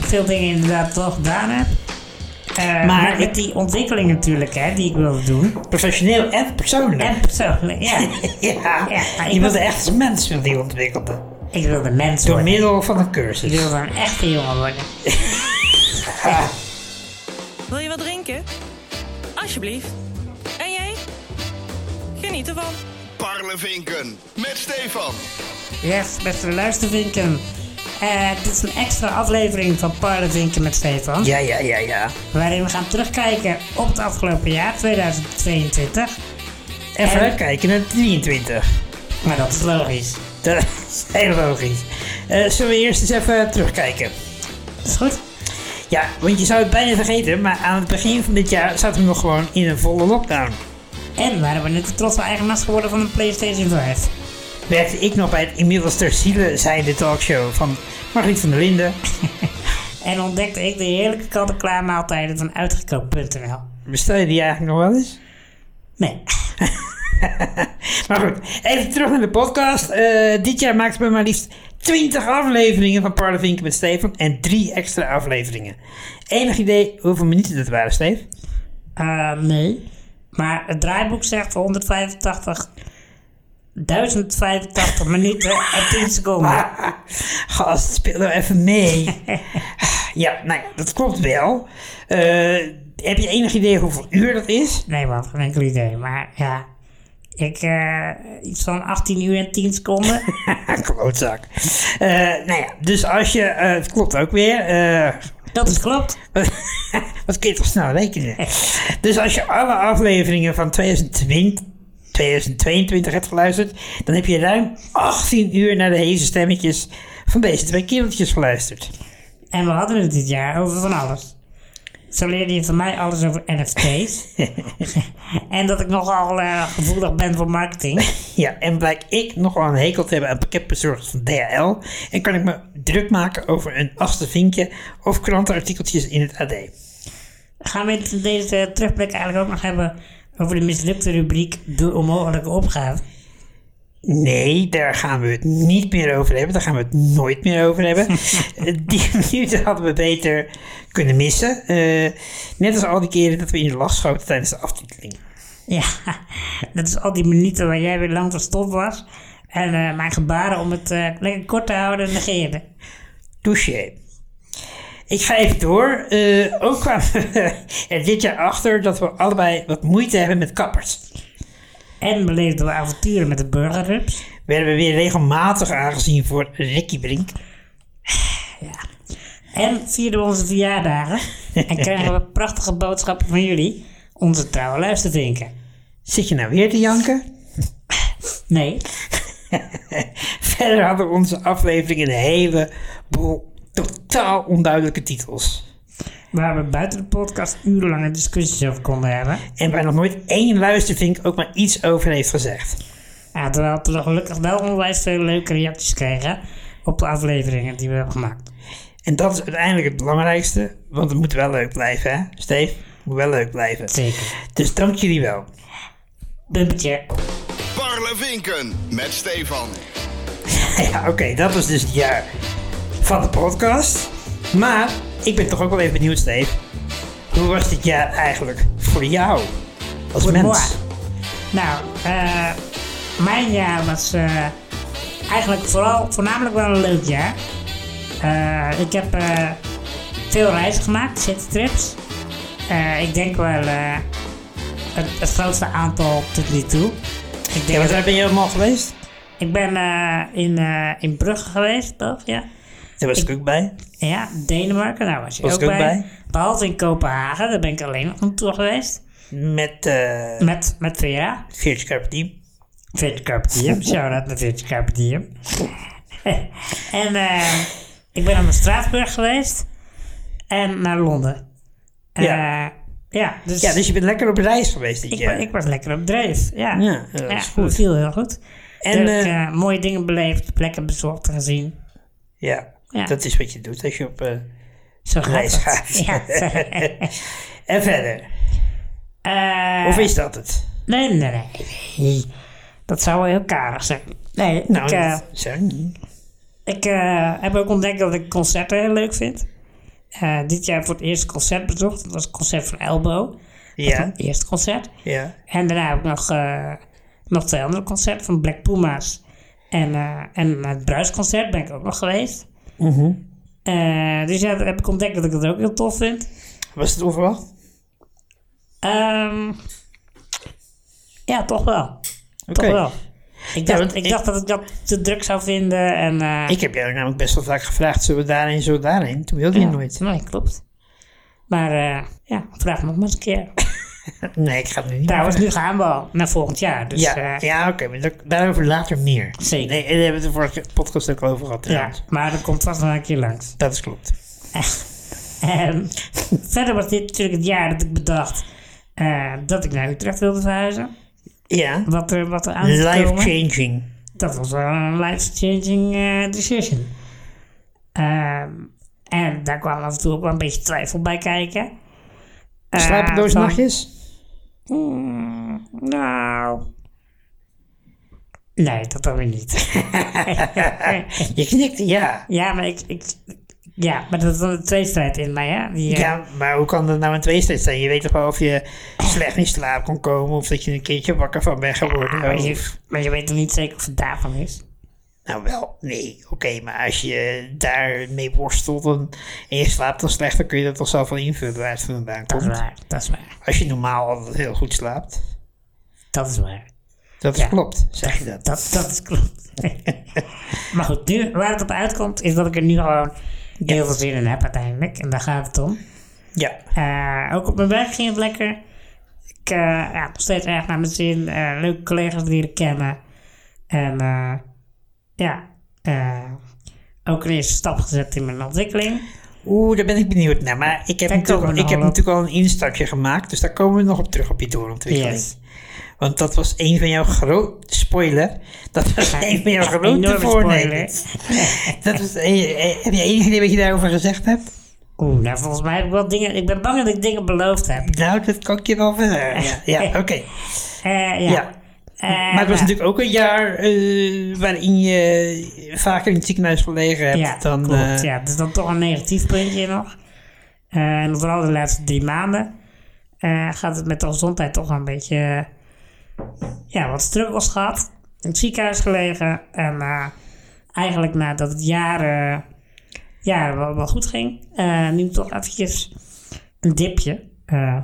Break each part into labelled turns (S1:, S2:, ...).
S1: veel dingen inderdaad toch gedaan heb. Eh,
S2: Maar-
S1: maar met die ontwikkeling natuurlijk, hè, die ik wilde doen.
S2: Professioneel en persoonlijk.
S1: En persoonlijk, ja.
S2: ja,
S1: Ja,
S2: je
S1: ik
S2: wilde
S1: wilde,
S2: echt een mens wilde je ontwikkelen.
S1: ik wilde mens
S2: Door
S1: worden.
S2: middel van een
S1: Ik
S2: cursus.
S1: wilde een echte jongen worden.
S3: Wil je wat drinken? Alsjeblieft. En jij? Geniet ervan.
S4: Parlevinken met Stefan.
S1: Yes, beste luistervinken. Eh, dit is een extra aflevering van Parlevinken met Stefan.
S2: Ja, ja, ja, ja.
S1: Waarin we gaan terugkijken op het afgelopen jaar, 2022.
S2: En vooruitkijken naar 23.
S1: Maar dat is logisch.
S2: Dat is heel logisch. Eh, zullen we eerst eens even terugkijken?
S1: Is goed?
S2: Ja, want je zou het bijna vergeten, maar aan het begin van dit jaar zaten we nog gewoon in een volle lockdown.
S1: En waren we net de trotse eigenaars geworden van een PlayStation 5.
S2: Werkte ik nog bij het inmiddels ter ziele zijnde talkshow van Margriet van der Linden.
S1: En ontdekte ik de heerlijke kant-en-klaar maaltijden van uitgekookt.nl.
S2: Bestel je die eigenlijk nog wel eens?
S1: Nee.
S2: Maar goed, even terug naar de podcast. Eh, dit jaar maakten we maar liefst 20 afleveringen van Parlevinken met Steven en drie extra afleveringen. Enig idee hoeveel minuten dat waren, Steve?
S1: Eh, nee. Maar het draaiboek zegt 185. 1085 minuten en 10 seconden.
S2: Gast, speel nou even mee. ja, nou ja, dat klopt wel. Eh, heb je enig idee hoeveel uur dat is?
S1: Nee man, geen enkel idee. Maar ja, ik eh, iets van 18 uur en 10 seconden.
S2: Klootzak. Eh nou ja, dus als je... eh, het klopt ook weer. eh,
S1: dat is klopt.
S2: Wat kun je toch snel rekenen? dus als je alle afleveringen van 2020, 2022 hebt geluisterd, dan heb je ruim 18 uur naar de heze stemmetjes van deze twee kereltjes geluisterd.
S1: En we hadden het dit jaar over van alles. Zo leerde je van mij alles over NFT's. en dat ik nogal eh, gevoelig ben voor marketing.
S2: Ja, en blijk ik nogal een hekel te hebben aan pakketbezorgers van DHL en kan ik me druk maken over een aste vinkje of krantenartikeltjes in het AD.
S1: Gaan we het in deze terugblik eigenlijk ook nog hebben over de mislukte rubriek De Onmogelijke Opgave.
S2: Nee, daar gaan we het niet meer over hebben. Daar gaan we het nooit meer over hebben. Eh, die minuten hadden we beter kunnen missen. Eh, net als al die keren dat we in de lach schoten tijdens de aftiteling.
S1: Ja, dat is al die minuten waar jij weer lang verstopt was. En eh, mijn gebaren om het eh, lekker kort te houden negeerde.
S2: Touché. Ik ga even door. Eh, ook kwamen we er dit jaar achter dat we allebei wat moeite hebben met kappers.
S1: En beleefden we avonturen met de burgerrups.
S2: Werden we weer regelmatig aangezien voor Ricky Brink.
S1: En vierden we onze verjaardagen. En kregen we prachtige boodschappen van jullie, onze trouwe luistervinken.
S2: Zit je nou weer te janken?
S1: Nee,
S2: Verder hadden onze aflevering een heleboel totaal onduidelijke titels.
S1: waar we buiten de podcast urenlange discussies over konden hebben.
S2: En waar nog nooit één luistervink ook maar iets over heeft gezegd.
S1: Ja, terwijl we gelukkig wel onwijs veel leuke reacties kregen op de afleveringen die we hebben gemaakt.
S2: En dat is uiteindelijk het belangrijkste, want het moet wel leuk blijven, hè? Steve, het moet wel leuk blijven.
S1: Zeker.
S2: Dus dank jullie wel.
S1: Bumpetje.
S4: Parlevinken met Stefan.
S2: Ja, oké, dat was dus het jaar van de podcast. Maar ik ben toch ook wel even benieuwd, Steve. Hoe was dit jaar eigenlijk voor jou als
S1: Voor
S2: mens?
S1: moi. Nou, eh, mijn jaar was eh, eigenlijk vooral, voornamelijk wel een leuk jaar. Eh, ik heb eh, veel reizen gemaakt, citytrips. Eh, ik denk wel eh, het, het grootste aantal tot nu toe. Ik,
S2: Ja,
S1: denk
S2: want
S1: dat-
S2: daar ben je helemaal geweest.
S1: ik ben eh, in, eh, in Brugge geweest, toch? Ja.
S2: Daar was ik ook bij.
S1: ja, Denemarken, daar was je
S2: Was
S1: ook,
S2: ik ook
S1: bij.
S2: bij.
S1: Behalve in Kopenhagen, daar ben ik alleen nog naartoe geweest.
S2: Met eh
S1: Met, met Vera.
S2: Geertje Carpe Diem.
S1: Vince Carpe Diem. Shout-out naar Vince Carpe Diem. en eh, ik ben naar Straatsburg geweest. En naar Londen. Eh,
S2: Ja.
S1: ja, dus,
S2: Ja, dus je bent lekker op reis geweest dit
S1: ik,
S2: jaar.
S1: wa- ik was lekker op dreef. Ja,
S2: Ja, dat is goed.
S1: dat viel heel goed.
S2: En,
S1: En, ik,
S2: eh,
S1: eh, mooie dingen beleefd, plekken bezocht en gezien.
S2: Ja,
S1: Ja.
S2: dat is wat je doet als je op eh,
S1: Zo gaat
S2: reis
S1: dat.
S2: gaat.
S1: Ja,
S2: en verder.
S1: Eh,
S2: of is dat het?
S1: nee, nee, nee, nee. Dat zou wel heel karig zijn. Nee,
S2: Nou,
S1: ik, eh,
S2: dat zou niet.
S1: Ik eh, heb ook ontdekt dat ik concerten heel leuk vind. eh, dit jaar voor het eerste concert bezocht. Dat was het concert van Elbow. Dat
S2: Ja.
S1: was mijn eerste concert.
S2: Ja.
S1: En daarna ook nog, eh, nog twee andere concerten van Black Puma's. En, eh, en naar het Bruisconcert ben ik ook nog geweest.
S2: Mhm.
S1: Eh, dus ja, daar heb ik ontdekt dat ik dat ook heel tof vind.
S2: Was het onverwacht?
S1: Ehm, ja, toch wel. Toch
S2: Oké.
S1: wel. Ik dacht,
S2: want
S1: ik
S2: ik-
S1: dacht dat ik dat te druk zou vinden. En, eh,
S2: Ik heb jou namelijk best wel vaak gevraagd, zullen we daarheen, zullen we daarheen? Toen wilde je
S1: ja,
S2: nooit.
S1: Nee, klopt. Maar eh, ja, vraag me nog maar eens een keer.
S2: Nee, ik ga het nu niet
S1: Trouwens, nu gaan we al naar volgend jaar. Dus,
S2: Ja,
S1: eh,
S2: ja oké, maar daar- daarover later meer.
S1: Zeker.
S2: Nee, daar hebben we het de vorige podcast ook al over gehad.
S1: ja,
S2: trouwens.
S1: maar dat komt vast wel een keer langs.
S2: Dat is klopt.
S1: En verder was dit natuurlijk het jaar dat ik bedacht eh, dat ik naar Utrecht wilde verhuizen.
S2: Ja,
S1: Wat er, wat er aan zit te komen.
S2: life-changing.
S1: Dat was wel een life-changing eh, decision. Ehm, en daar kwam af en toe ook wel een beetje twijfel bij kijken. Eh,
S2: Slapeloze
S1: van-
S2: nachtjes?
S1: Hmm, nou... Nee, dat dan weer niet.
S2: Je knikt, ja.
S1: ja, maar ik... ik ja, maar dat is dan een tweestrijd in mij, hè? Die, eh,
S2: Ja, maar hoe kan dat nou een tweestrijd zijn? Je weet toch wel of je
S1: Oh.
S2: slecht in slaap kon komen of dat je een keertje wakker van bent geworden.
S1: eh, ah,
S2: Nou,
S1: maar,
S2: of-
S1: je, maar je weet nog niet zeker of het daarvan is.
S2: Nou wel, nee, oké, maar als je daarmee worstelt dan, en je slaapt dan slecht, dan kun je dat toch zelf wel invullen waar het vandaan
S1: Dat is
S2: komt.
S1: waar, dat is waar.
S2: Als je normaal altijd heel goed slaapt.
S1: Dat is waar.
S2: Dat
S1: Ja.
S2: klopt, zeg je dat.
S1: Dat, dat is klopt. maar goed, nu, waar het op uitkomt, is dat ik er nu gewoon heel veel zin in heb uiteindelijk. En daar gaat het om.
S2: Ja.
S1: Eh, ook op mijn werk ging het lekker. Ik eh ja, nog steeds erg naar mijn zin. Eh, leuke collega's leren kennen. En eh, ja, eh, ook een eerste stap gezet in mijn ontwikkeling.
S2: Oeh, daar ben ik benieuwd naar. Maar ik heb,
S1: Daar
S2: natuurlijk,
S1: komen
S2: al-
S1: we
S2: ik heb
S1: nog op.
S2: natuurlijk al een instapje gemaakt, dus daar komen we nog op terug op je doorontwikkeling.
S1: Yes.
S2: Want dat was een van jouw grote... Spoiler. Dat was een van jouw
S1: Ja,
S2: grote
S1: enorme
S2: voornemens. Dat was, eh, eh, heb je enig idee wat je daarover gezegd hebt?
S1: Oeh, nou volgens mij heb ik wel dingen... Ik ben bang dat ik dingen beloofd heb.
S2: Nou, dat kan ik je wel verder. Ja, ja oké.
S1: Eh, nou. ja.
S2: Ja. maar het was natuurlijk ook een jaar eh, waarin je vaker in het ziekenhuis gelegen hebt
S1: Ja,
S2: dan...
S1: klopt.
S2: eh,
S1: ja, dus dan toch een negatief puntje nog. Eh, en vooral de laatste drie maanden eh, gaat het met de gezondheid toch wel een beetje eh, ja, wat struggles gehad. In het ziekenhuis gelegen. En eh, eigenlijk nadat het jaren, jaren wel, wel goed ging, eh, nu toch eventjes een dipje. Eh,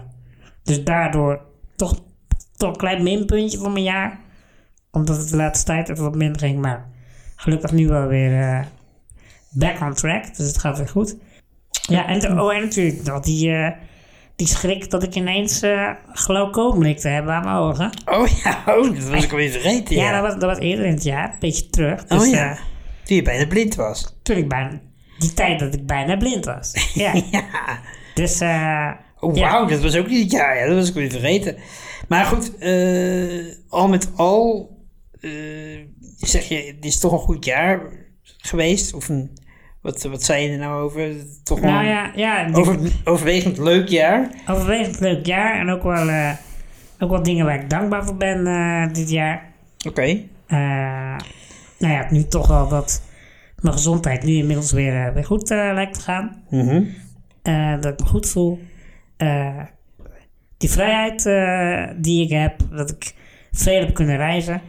S1: dus daardoor toch, toch een klein minpuntje voor mijn jaar. Omdat het de laatste tijd even wat minder ging. Maar gelukkig nu wel weer... eh, back on track. Dus het gaat weer goed. Ja, en, de- oh, en natuurlijk nog die, eh, die schrik dat ik ineens eh glaucoom bleek te hebben aan mijn ogen.
S2: Oh ja, oh, dat was ik alweer vergeten.
S1: Ja,
S2: Ja,
S1: dat, was, dat was eerder in het jaar, een beetje terug. Dus
S2: Oh ja,
S1: eh,
S2: toen je bijna blind was.
S1: toen ik bijna, die tijd dat ik bijna blind was. Ja,
S2: Ja.
S1: dus eh,
S2: Oh,
S1: Ja.
S2: wauw, dat was ook niet het jaar. Ja, dat was ik weer vergeten. Maar goed, eh, al met al eh, zeg je, het is toch een goed jaar geweest? Of een, wat, wat zei je er nou over? Toch wel
S1: nou
S2: een
S1: ja, ja ik denk
S2: over, overwegend leuk jaar.
S1: overwegend leuk jaar. En ook wel, eh, ook wel dingen waar ik dankbaar voor ben eh, dit jaar.
S2: Oké.
S1: Eh, nou ja, nu toch wel wat mijn gezondheid nu inmiddels weer, eh, weer goed eh, lijkt te gaan.
S2: Mhm.
S1: Eh, dat ik me goed voel. Eh, die vrijheid eh, die ik heb, dat ik veel heb kunnen reizen.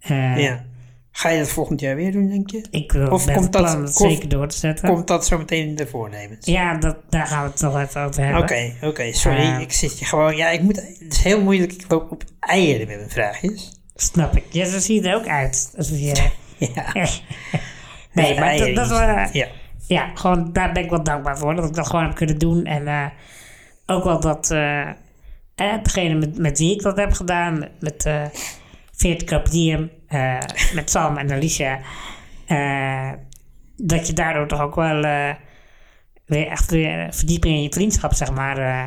S1: Eh,
S2: Ja. Ga je dat volgend jaar weer doen, denk je?
S1: Ik wil
S2: Of
S1: met
S2: komt
S1: het
S2: dat-
S1: plan dat
S2: komt-
S1: zeker door te zetten.
S2: Komt dat zo meteen in de voornemens?
S1: Ja, dat, daar gaan we het nog even over
S2: Oké,
S1: hebben.
S2: oké, sorry.
S1: Eh.
S2: ik zit je gewoon... Ja, ik moet... Het is heel moeilijk. Ik loop op eieren met mijn vraagjes.
S1: Snap ik. Ja, zo zie je er ook uit. Als we hier-
S2: Ja.
S1: nee, maar dat, dat we-
S2: Ja.
S1: ja, gewoon daar ben ik wel dankbaar voor. Dat ik dat gewoon heb kunnen doen. En eh, ook wel dat eh, eh, degene met, met wie ik dat heb gedaan, met, met eh, Veert Carpe Diem, eh, met Sam en Alicia, eh, dat je daardoor toch ook wel eh, weer echt weer verdieping in je vriendschap, zeg maar. eh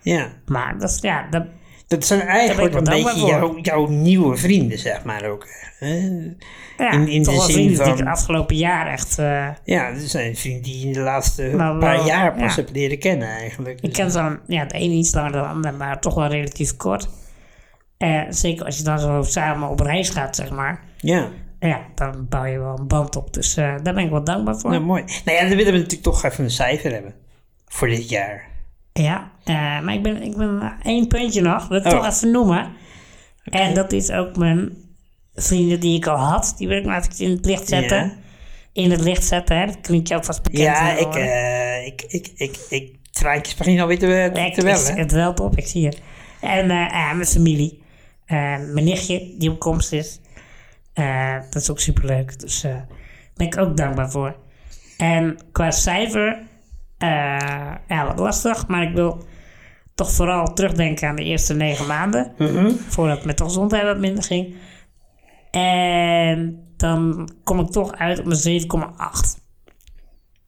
S2: ja.
S1: maar dat, is- ja, dat,
S2: Dat zijn
S1: Daar
S2: eigenlijk
S1: ben
S2: een
S1: ik wel
S2: beetje
S1: dankbaar
S2: jouw, jouw nieuwe vrienden, zeg maar ook. hè?
S1: ja,
S2: In- in
S1: toch
S2: de
S1: wel
S2: zin
S1: vrienden die
S2: van-
S1: ik het afgelopen jaar echt... eh,
S2: Ja, dat zijn vrienden die je in de laatste
S1: Maar Nou, wel,
S2: paar jaar pas
S1: ja.
S2: hebt leren kennen eigenlijk. Dus
S1: Ik ken zo'n, ja, de ene iets langer dan de ander, maar toch wel relatief kort. Eh, zeker als je dan zo samen op reis gaat, zeg maar.
S2: Ja,
S1: Ja, dan bouw je wel een band op. Dus eh, daar ben ik wel dankbaar voor.
S2: nou mooi. Nou ja, dan willen we natuurlijk toch even een cijfer hebben. voor dit jaar.
S1: Ja, eh, maar ik ben, ik ben één puntje nog. Dat wil ik
S2: Oh.
S1: toch even noemen. En dat is ook mijn vrienden die ik al had. Die wil ik maar even in het licht zetten.
S2: Ja.
S1: In het licht zetten, hè. Dat klinkt jou vast bekend.
S2: Ja,
S1: hè,
S2: ik,
S1: hoor.
S2: eh ik, ik, ik, ik, traantjes beginnen alweer te,
S1: Ik-
S2: te
S1: ik,
S2: wellen.
S1: het welt op, ik zie het. En eh, eh, mijn familie. Eh, mijn nichtje, die op komst is. Eh, dat is ook superleuk. Dus eh ben ik ook dankbaar voor. En qua cijfer, eh ja, wat lastig. Maar ik wil toch vooral terugdenken aan de eerste negen maanden. Voordat het met de gezondheid wat minder ging. En dan kom ik toch uit op een 7,8.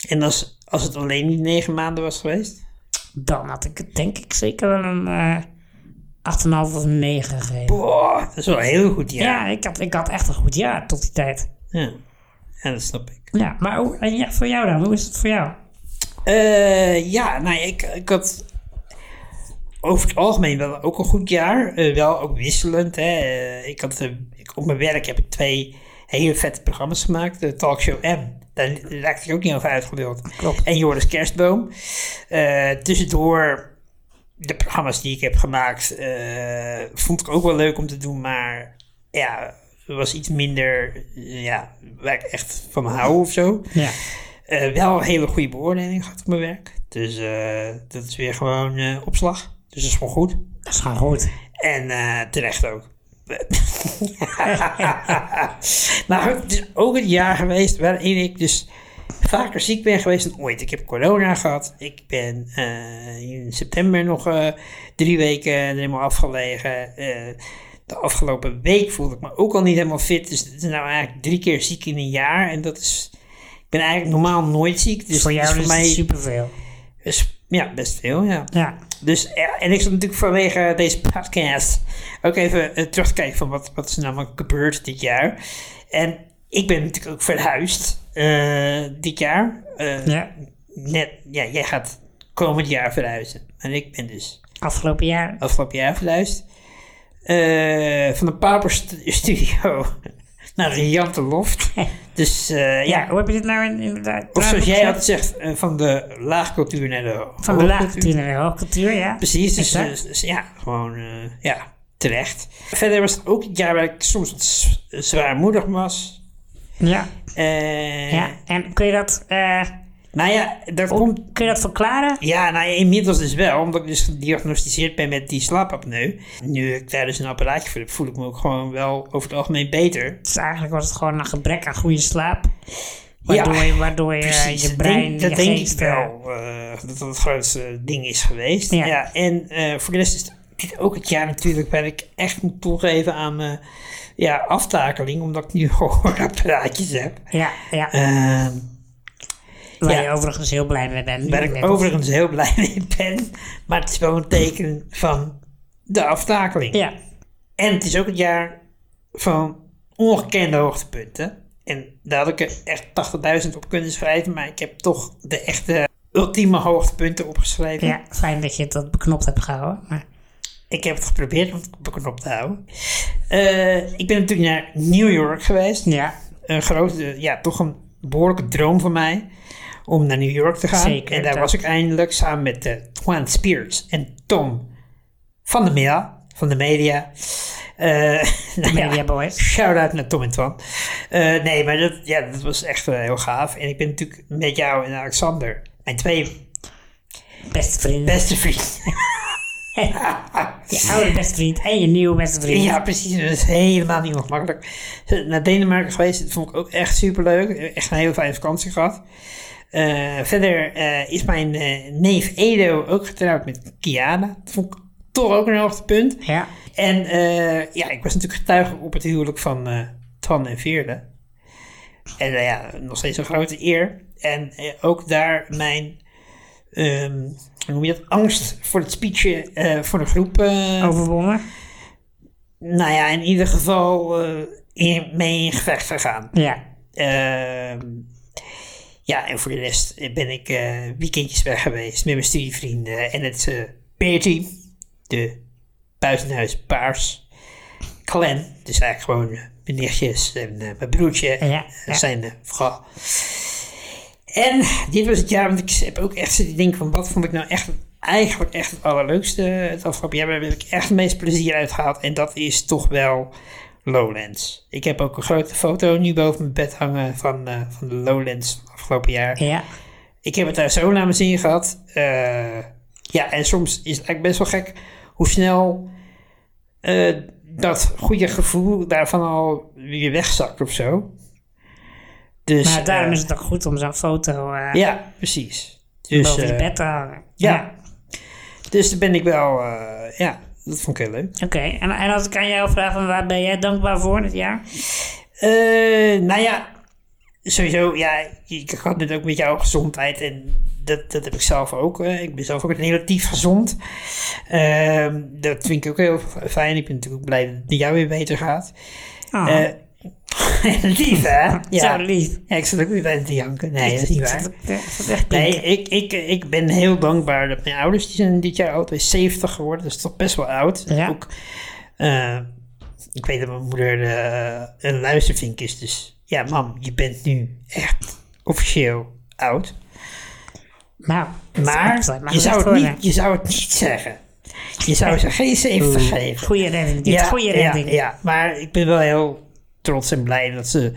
S2: En als, als het alleen die negen maanden was geweest?
S1: Dan had ik het denk ik zeker wel een eh 8,5 of 9 gegeven.
S2: Boah, dat is wel een heel goed jaar.
S1: Ja, ik had, ik had echt een goed jaar tot die tijd.
S2: Ja, ja dat snap ik.
S1: Ja, maar hoe, en ja, voor jou dan, hoe is het voor jou?
S2: Eh, ja, nou, ik, ik had over het algemeen wel ook een goed jaar. Eh, wel ook wisselend. Hè. Eh, ik had, eh, ik, op mijn werk heb ik twee hele vette programma's gemaakt. De Talkshow M. Daar raakte ik ook niet over uitgeluld.
S1: Klopt.
S2: En Joris Kerstboom. Eh, tussendoor de programma's die ik heb gemaakt, eh, vond ik ook wel leuk om te doen, maar ja, was iets minder eh, ja, waar ik echt van hou of zo.
S1: Ja,
S2: Eh, wel een hele goede beoordeling gehad op mijn werk. Dus eh, dat is weer gewoon eh, opslag. Dus dat is gewoon goed.
S1: dat is gewoon goed.
S2: En eh, terecht ook. nou, het is ook het jaar geweest waarin ik dus vaker ziek ben geweest dan ooit. Ik heb corona gehad. Ik ben eh, in september nog eh, drie weken er helemaal afgelegen. Eh, de afgelopen week voelde ik me ook al niet helemaal fit. Dus het is nou eigenlijk drie keer ziek in een jaar. En dat is... Ik ben eigenlijk normaal nooit ziek. Dus
S1: voor jou
S2: dat
S1: is
S2: is voor mij
S1: het superveel.
S2: is- ja, best veel, ja.
S1: Ja,
S2: Dus, ja, en ik zat natuurlijk vanwege deze podcast ook even eh, terug te kijken van wat, wat is er namelijk gebeurd dit jaar. En ik ben natuurlijk ook verhuisd eh, dit jaar. Eh,
S1: ja.
S2: Net, ja, jij gaat komend jaar verhuizen. En ik ben dus
S1: Afgelopen jaar.
S2: afgelopen jaar verhuisd. Eh, van een pauperstudio naar een jante loft. Dus eh,
S1: Ja,
S2: ja,
S1: hoe heb je dit nou in, inderdaad?
S2: of zoals jij
S1: gezegd?
S2: altijd zegt, eh, van de laagcultuur naar de
S1: Van de
S2: hoogcultuur.
S1: laagcultuur naar de hoogcultuur, ja.
S2: Precies, dus,
S1: Exact.
S2: dus- dus ja, gewoon eh, ja, terecht. Verder was het ook het jaar waar ik soms wat z- zwaarmoedig was.
S1: ja,
S2: Eh,
S1: ja. En kun je dat, eh,
S2: Nou ja, daar komt...
S1: kun je dat verklaren?
S2: Ja, nou ja, inmiddels dus wel, omdat ik dus gediagnosticeerd ben met die slaapapneu. Nu ik daar dus een apparaatje voor heb, voel ik me ook gewoon wel over het algemeen beter.
S1: Dus eigenlijk was het gewoon een gebrek aan goede slaap. Waardoor,
S2: Ja,
S1: je, waardoor je, je
S2: dat
S1: brein,
S2: denk- dat
S1: je
S2: denk
S1: geest,
S2: ik
S1: eh,
S2: wel, eh, dat dat het grootste ding is geweest.
S1: Ja.
S2: Ja. en eh, voor de rest is dit ook het jaar natuurlijk waar ik echt moet toegeven aan mijn ja, aftakeling, omdat ik nu hoorapparaatjes heb.
S1: Ja, ja.
S2: Ehm,
S1: waar
S2: ja.
S1: je overigens heel blij mee bent.
S2: waar
S1: Net
S2: ik
S1: als-
S2: overigens heel blij mee ben, maar het is wel een teken van de aftakeling.
S1: Ja,
S2: En het is ook het jaar van ongekende hoogtepunten. En daar had ik er echt 80.000 op kunnen schrijven, maar ik heb toch de echte ultieme hoogtepunten opgeschreven.
S1: ja, fijn dat je dat beknopt hebt gehouden. Maar
S2: Ik heb het geprobeerd om het beknopt te houden. Eh, ik ben natuurlijk naar New York geweest.
S1: ja,
S2: Een grote, ja, toch een behoorlijke droom van mij om naar New York te gaan.
S1: Zeker,
S2: en daar
S1: dat-
S2: was ik eindelijk samen met eh Juan Spears en Tom van de media. Van de media. Eh, nou ja.
S1: Media Boys.
S2: Shout-out naar Tom en Twan. Eh, nee, maar dat, ja, dat was echt eh, heel gaaf. En ik ben natuurlijk met jou en Alexander, mijn twee
S1: Beste vriend.
S2: beste vrienden.
S1: Je oude beste vriend en je nieuwe beste vriend.
S2: ja, precies. Dat is helemaal niet ongemakkelijk. Eh, Naar Denemarken geweest, dat vond ik ook echt superleuk. Eh, Echt een hele fijne vakantie gehad. Eh, verder eh, is mijn eh, neef Edo ook getrouwd met Kiana. Dat vond ik toch ook een hoogtepunt.
S1: Ja,
S2: En eh, ja, ik was natuurlijk getuige op het huwelijk van eh Twan en Veerle. En nou ja, nog steeds een grote eer. En eh, ook daar mijn, ehm, hoe noem je dat, angst voor het speechje eh, voor de groep. eh,
S1: overwonnen.
S2: Nou ja, in ieder geval eh, in, mee in gevecht gegaan.
S1: Ja,
S2: Ehm, ja, en voor de rest ben ik eh, weekendjes weg geweest met mijn studievrienden en het eh Bertie, de Buitenhuis Paars clan. Dus eigenlijk gewoon eh, mijn nichtjes en eh, mijn broertje
S1: Ja,
S2: en
S1: ja.
S2: zijn eh, vrouw. En dit was het jaar, want ik heb ook echt zitten denken van wat vond ik nou echt, eigenlijk echt het allerleukste eh, het afgelopen jaar. Waar heb ik echt het meest plezier uit gehad en dat is toch wel Lowlands. Ik heb ook een grote foto nu boven mijn bed hangen van, eh, van de Lowlands van het afgelopen jaar.
S1: Ja.
S2: Ik heb het daar zo naar mijn zin gehad. Eh, ja, en soms is het eigenlijk best wel gek hoe snel eh, dat goede gevoel daarvan al weer wegzakt of zo. Dus,
S1: Maar daarom
S2: eh,
S1: is het ook goed om zo'n foto eh,
S2: ja, precies. Dus,
S1: boven je
S2: eh,
S1: bed te hangen.
S2: ja. Dus daar ben ik wel, eh, ja, dat vond ik heel leuk.
S1: Oké, en, en als ik aan jou vraag van waar ben jij dankbaar voor dit jaar?
S2: Eh, nou ja, sowieso, ja, ik had net ook met jouw gezondheid en dat, dat heb ik zelf ook. eh. ik ben zelf ook relatief gezond. Ehm, dat vind ik ook heel fijn. Ik ben natuurlijk ook blij dat het met jou weer beter gaat.
S1: Oh,
S2: Eh lief, hè?
S1: zo
S2: Ja.
S1: lief.
S2: ja, ik zat ook weer bij te janken. Nee, dat is niet waar.
S1: Nee.
S2: Nee, ik, ik, ik ben heel dankbaar dat mijn ouders, die zijn dit jaar altijd 70 geworden. Dat is toch best wel oud.
S1: Ja.
S2: Ook, eh, ik weet dat mijn moeder eh, een luistervink is. Dus ja, mam, je bent nu echt officieel oud.
S1: Nou,
S2: Maar je zou, het niet, je zou het niet zeggen. Je zou ze geen
S1: Hmm.
S2: 70 geven.
S1: Goede redding, dit. Goeie
S2: ja,
S1: redding.
S2: ja, maar ik ben wel heel trots en blij dat ze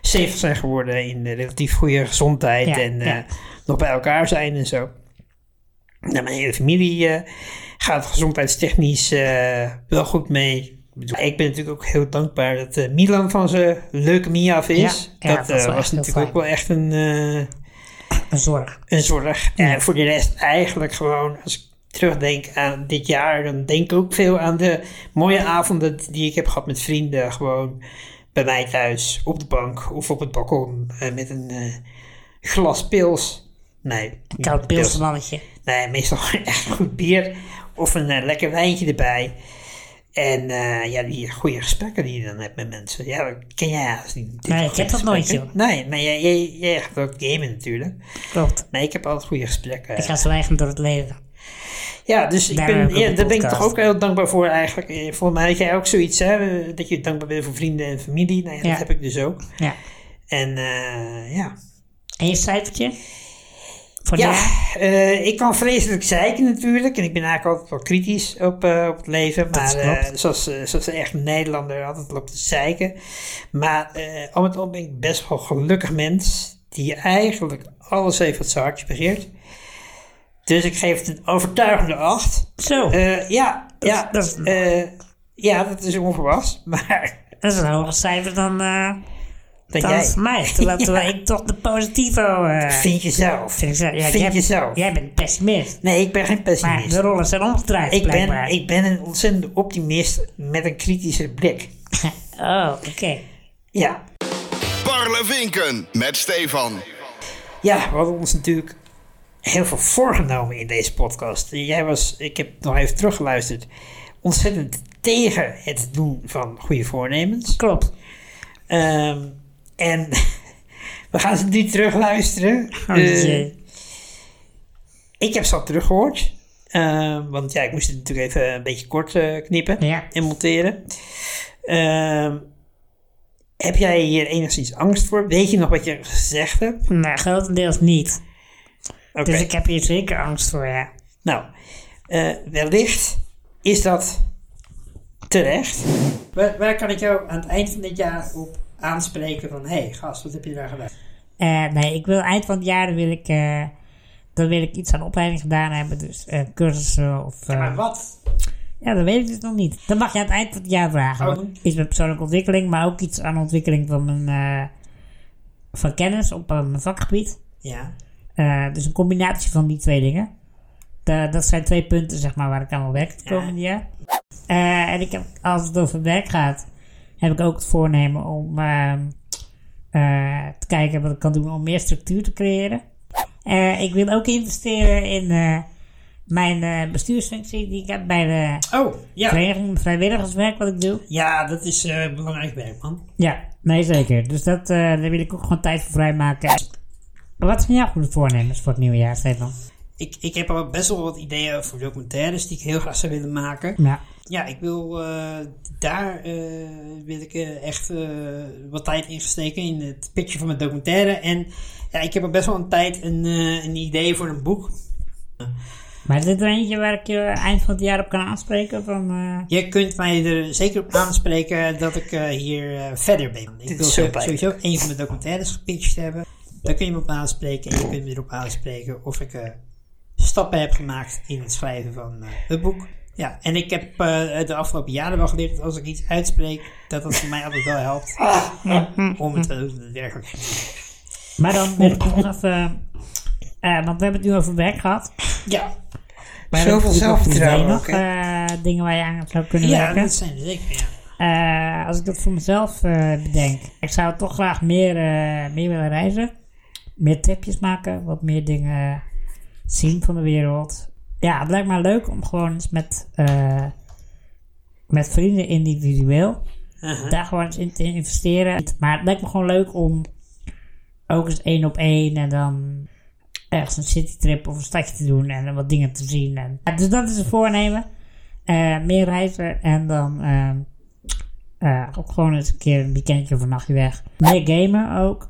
S2: 70 zijn geworden in eh, relatief goede gezondheid
S1: Ja,
S2: en eh,
S1: ja.
S2: nog bij elkaar zijn en zo. Nou, mijn hele familie eh, gaat gezondheidstechnisch eh, wel goed mee. Ik bedoel, Ik ben natuurlijk ook heel dankbaar dat eh, Milan van zijn leukemie af is.
S1: Ja, ja,
S2: dat
S1: dat is
S2: eh,
S1: wel
S2: was
S1: echt heel
S2: natuurlijk ook wel echt een, eh,
S1: Een zorg.
S2: een zorg. En voor de rest eigenlijk gewoon, als ik terugdenk aan dit jaar, dan denk ik ook veel aan de mooie avonden die ik heb gehad met vrienden. Gewoon bij mij thuis, op de bank of op het balkon eh, met een eh, glas pils. Nee, niet
S1: Koud
S2: pils.
S1: pilsmannetje.
S2: Nee, meestal echt goed bier of een eh, lekker wijntje erbij. En eh, ja, die goede gesprekken die je dan hebt met mensen. Ja, dat ken jij haast niet.
S1: Nee, ik heb dat nooit,
S2: Gesprekken. Nee, maar jij, jij, jij gaat ook gamen natuurlijk.
S1: Klopt.
S2: Nee, ik heb altijd goede gesprekken.
S1: Ik ga zwijgend door het leven.
S2: Ja, dus ik
S1: Daar
S2: ben,
S1: heb ik ook
S2: ja,
S1: een
S2: daar ben ik
S1: podcast.
S2: toch ook heel dankbaar voor eigenlijk. Eh, Volgens mij had jij ook zoiets, hè? eh, Dat je dankbaar bent voor vrienden en familie. Nou ja,
S1: Ja.
S2: dat heb ik dus ook.
S1: Ja.
S2: En eh, ja.
S1: En je cijfertje? Voor
S2: Ja,
S1: jou?
S2: eh, ik kan vreselijk zeiken natuurlijk. En ik ben eigenlijk altijd wel kritisch op, eh, op het leven. Maar eh,
S1: klopt.
S2: zoals, eh, zoals echt een Nederlander altijd loopt te zeiken. Maar eh om het om ben ik best wel een gelukkig mens. Die eigenlijk alles heeft wat zijn hartje begeert. Dus ik geef het een overtuigende acht.
S1: Zo,
S2: Eh, ja,
S1: Dat is-
S2: ja,
S1: dat is-
S2: eh, ja, dat is onverwachts, maar
S1: dat is een hoger cijfer dan, eh
S2: dat
S1: dan
S2: jij
S1: voor mij. Terwijl, terwijl ik toch de positivo eh,
S2: vind jezelf.
S1: vind. Ik zo, ja,
S2: vind
S1: jij,
S2: jezelf.
S1: jij bent pessimist.
S2: Nee, ik ben geen
S1: Maar de
S2: pessimist.
S1: rollen zijn omgedraaid
S2: Ik ben,
S1: blijkbaar.
S2: ik ben een ontzettende optimist met een kritische blik.
S1: Oh, oké.
S2: Ja,
S4: Parlevinken met Stefan.
S2: ja we hadden ons natuurlijk heel veel voorgenomen in deze podcast. Jij was, ik heb nog even teruggeluisterd, ontzettend tegen het doen van goede voornemens.
S1: Klopt.
S2: Ehm, en we gaan ze nu terugluisteren.
S1: Oh,
S2: Eh,
S1: jee.
S2: Ik heb ze al teruggehoord. Eh, want ja, ik moest het natuurlijk even een beetje kort eh, knippen
S1: Ja.
S2: en monteren. Ehm, heb jij hier enigszins angst voor? Weet je nog wat je gezegd hebt?
S1: Nou, grotendeels niet.
S2: Oké.
S1: Dus ik heb hier zeker angst voor, ja.
S2: Nou, eh, wellicht is dat terecht. Waar, waar kan ik jou aan het eind van dit jaar op aanspreken van... Hé, hey, gast, wat heb je daar gedaan?
S1: Eh, nee, ik wil eind van het jaar wil ik, eh, dan wil ik iets aan opleiding gedaan hebben. Dus eh, cursussen of... eh,
S2: Maar wat?
S1: Ja, dat weet ik dus nog niet. Dat mag je aan het eind van het jaar vragen.
S2: Oh.
S1: Want Iets met persoonlijke ontwikkeling, maar ook iets aan ontwikkeling van mijn eh, van kennis op eh, mijn vakgebied.
S2: Ja.
S1: Eh, dus een combinatie van die twee dingen. Da- dat zijn twee punten, zeg maar, waar ik aan wil werken het
S2: Ja.
S1: komende jaar. Eh, en ik heb, als het over werk gaat, heb ik ook het voornemen om ehm, eh, te kijken wat ik kan doen om meer structuur te creëren. Eh, ik wil ook investeren in eh, mijn eh, bestuursfunctie die ik heb bij de
S2: Oh, ja.
S1: vereniging vrijwilligerswerk wat ik doe.
S2: Ja, dat is eh, belangrijk werk, man.
S1: Ja, nee zeker. Dus dat, eh, daar wil ik ook gewoon tijd voor vrijmaken. Wat zijn jouw goede voornemens voor het nieuwe jaar, Stefan?
S2: ik, ik heb al best wel wat ideeën over documentaires die ik heel graag zou willen maken.
S1: Ja.
S2: Ja, ik wil eh, daar eh, wil ik eh, echt eh, wat tijd in steken in het pitchen van mijn documentaire. En ja, ik heb al best wel een tijd een, eh, een idee voor een boek.
S1: Maar is dit er eentje waar ik je eind van het jaar op kan aanspreken? Van, eh,
S2: Je kunt mij er zeker op aanspreken dat ik eh, hier eh, verder ben. Ik wil
S1: is zo
S2: sowieso
S1: pijnlijk.
S2: sowieso een van mijn documentaires gepitcht hebben. Daar kun je me op aanspreken en je kunt me erop aanspreken of ik eh, stappen heb gemaakt in het schrijven van eh, het boek. Ja, en ik heb eh, de afgelopen jaren wel geleerd dat als ik iets uitspreek, dat dat voor mij altijd wel helpt
S1: Ah.
S2: om het eh, daadwerkelijk te doen.
S1: maar dan wil ik nog even... eh, want we hebben het nu over werk gehad.
S2: Ja,
S1: Maar
S2: Zoveel
S1: dat-
S2: zelfvertrouwen
S1: zijn er
S2: ook,
S1: nog eh, dingen waar je aan zou kunnen
S2: ja
S1: werken?
S2: dat zijn er zeker. Ja.
S1: Eh, als ik dat voor mezelf eh, bedenk. Ik zou toch graag meer, eh, meer willen reizen. Meer tripjes maken. Wat meer dingen zien van de wereld. Ja, het lijkt me leuk om gewoon eens met, eh, met vrienden individueel. Daar gewoon eens in te investeren. Maar het lijkt me gewoon leuk om ook eens één op één en dan ergens een citytrip of een stadje te doen en dan wat dingen te zien. En, Ja, dus dat is het voornemen. Eh, meer reizen en dan ehm, eh, ook gewoon eens een keer een weekendje of een nachtje weg. Meer gamen ook.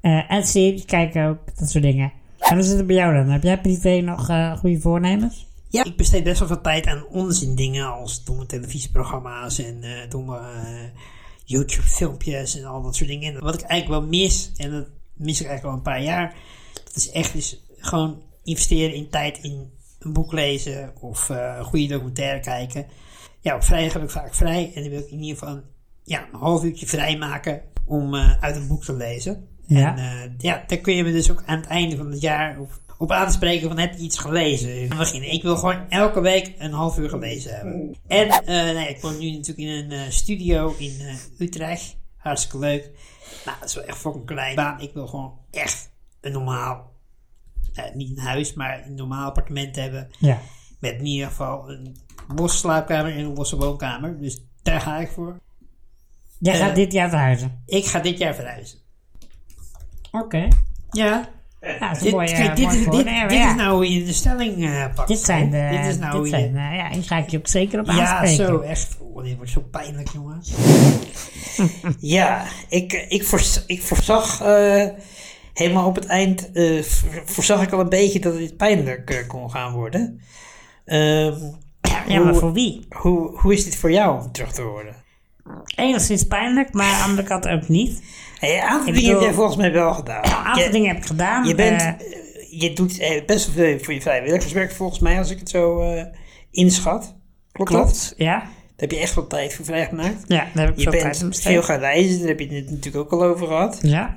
S1: Eh, en series kijken ook, dat soort dingen. En hoe zit het bij jou dan? Heb jij privé nog eh, goede voornemens?
S2: Ja, ik besteed best wel veel tijd aan onzin dingen als domme televisieprogramma's en eh domme eh, YouTube filmpjes en al dat soort dingen. En wat ik eigenlijk wel mis, en dat mis ik eigenlijk al een paar jaar, dat is echt dus gewoon investeren in tijd in een boek lezen of eh, een goede documentaire kijken. Ja, op vrijdag heb ik vaak vrij en dan wil ik in ieder geval ja, een half uurtje vrij maken om eh, uit een boek te lezen.
S1: Ja.
S2: En eh, ja, daar kun je me dus ook aan het einde van het jaar op, op aanspreken van heb je iets gelezen? Aan het begin, ik wil gewoon elke week een half uur gelezen hebben. En eh, nee, ik woon nu natuurlijk in een eh, studio in eh, Utrecht. Hartstikke leuk. Nou, dat is wel echt fucking klein. Maar ik wil gewoon echt een normaal, eh, niet een huis, maar een normaal appartement hebben.
S1: Ja.
S2: Met in ieder geval een bosse slaapkamer en een bosse woonkamer. Dus daar ga ik voor.
S1: Jij
S2: Eh.
S1: gaat dit jaar verhuizen.
S2: Ik ga dit jaar verhuizen.
S1: Oké.
S2: Ja,
S1: Ja, dat is een
S2: dit,
S1: mooi, eh,
S2: kijk, dit,
S1: mooi
S2: is, dit,
S1: voornemen,
S2: dit
S1: ja.
S2: is nou hoe je de stelling eh, pakt.
S1: Dit zijn de.
S2: Dit is nou hoe
S1: dit
S2: je-
S1: zijn, eh, ja, hier ga ik je ook zeker op
S2: Ja,
S1: aanspreken.
S2: zo, echt. Oh, dit wordt zo pijnlijk, jongen.
S5: Ja, ik, ik, voorz- ik voorzag eh, helemaal op het eind, eh, v- voorzag ik al een beetje dat dit pijnlijk eh, kon gaan worden. Ehm,
S1: Ja, maar voor wie?
S5: hoe, hoe is dit voor jou om terug te horen?
S1: Enigszins pijnlijk, maar aan de andere kant ook niet.
S5: Hey, een aantal dingen heb
S1: Ik bedoel- Nou,
S5: jij volgens mij wel
S1: Een
S5: gedaan.
S1: aantal
S5: Je-
S1: dingen heb ik gedaan.
S5: Je, bent,
S1: eh,
S5: eh, je doet eh, best wel veel voor je vrijwilligerswerk volgens mij, als ik het zo eh, inschat. Klopt, dat?
S1: klopt. Ja.
S5: Daar heb je echt wel tijd voor vrijgemaakt.
S1: ja, daar heb ik
S5: Je
S1: veel tijd aan
S5: bent
S1: besteed.
S5: veel gaan reizen, daar heb je het natuurlijk ook al over gehad.
S1: Ja.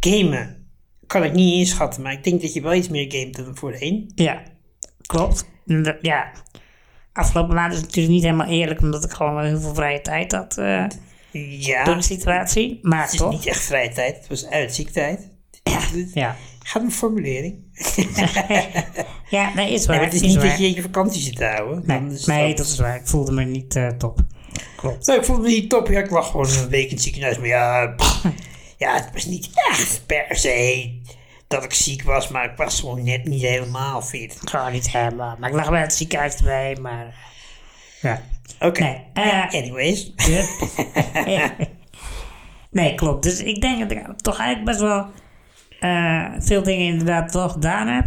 S5: gamen kan ik niet inschatten, maar ik denk dat je wel iets meer gamet dan voorheen.
S1: Ja, klopt. Inderda- Ja. Afgelopen maand is het natuurlijk niet helemaal eerlijk, omdat ik gewoon wel heel veel vrije tijd had eh,
S5: Ja,
S1: door de
S5: het
S1: situatie. Maar
S5: is
S1: toch?
S5: niet echt vrije tijd, het was uitziektijd.
S1: Ja.
S5: Gaat om formulering.
S1: Ja, nee, is waar.
S5: Nee, maar het is
S1: is
S5: niet dat
S1: waar.
S5: je je vakantie zit te houden. dan
S1: Nee,
S5: is het
S1: nee,
S5: wel-
S1: dat is waar. Ik voelde me niet eh, top. Klopt.
S5: Nou, ik vond het niet top. Ja, ik lag gewoon een week in het ziekenhuis. Maar ja, pff, ja, het was niet echt per se dat ik ziek was, maar ik was gewoon net niet helemaal fit.
S1: Ik ga niet helemaal. Maar ik lag bij het ziekenhuis erbij, maar... Ja.
S5: Oké,
S1: Nee, eh,
S5: anyways.
S1: nee, klopt. Dus ik denk dat ik toch eigenlijk best wel eh, veel dingen inderdaad wel gedaan heb.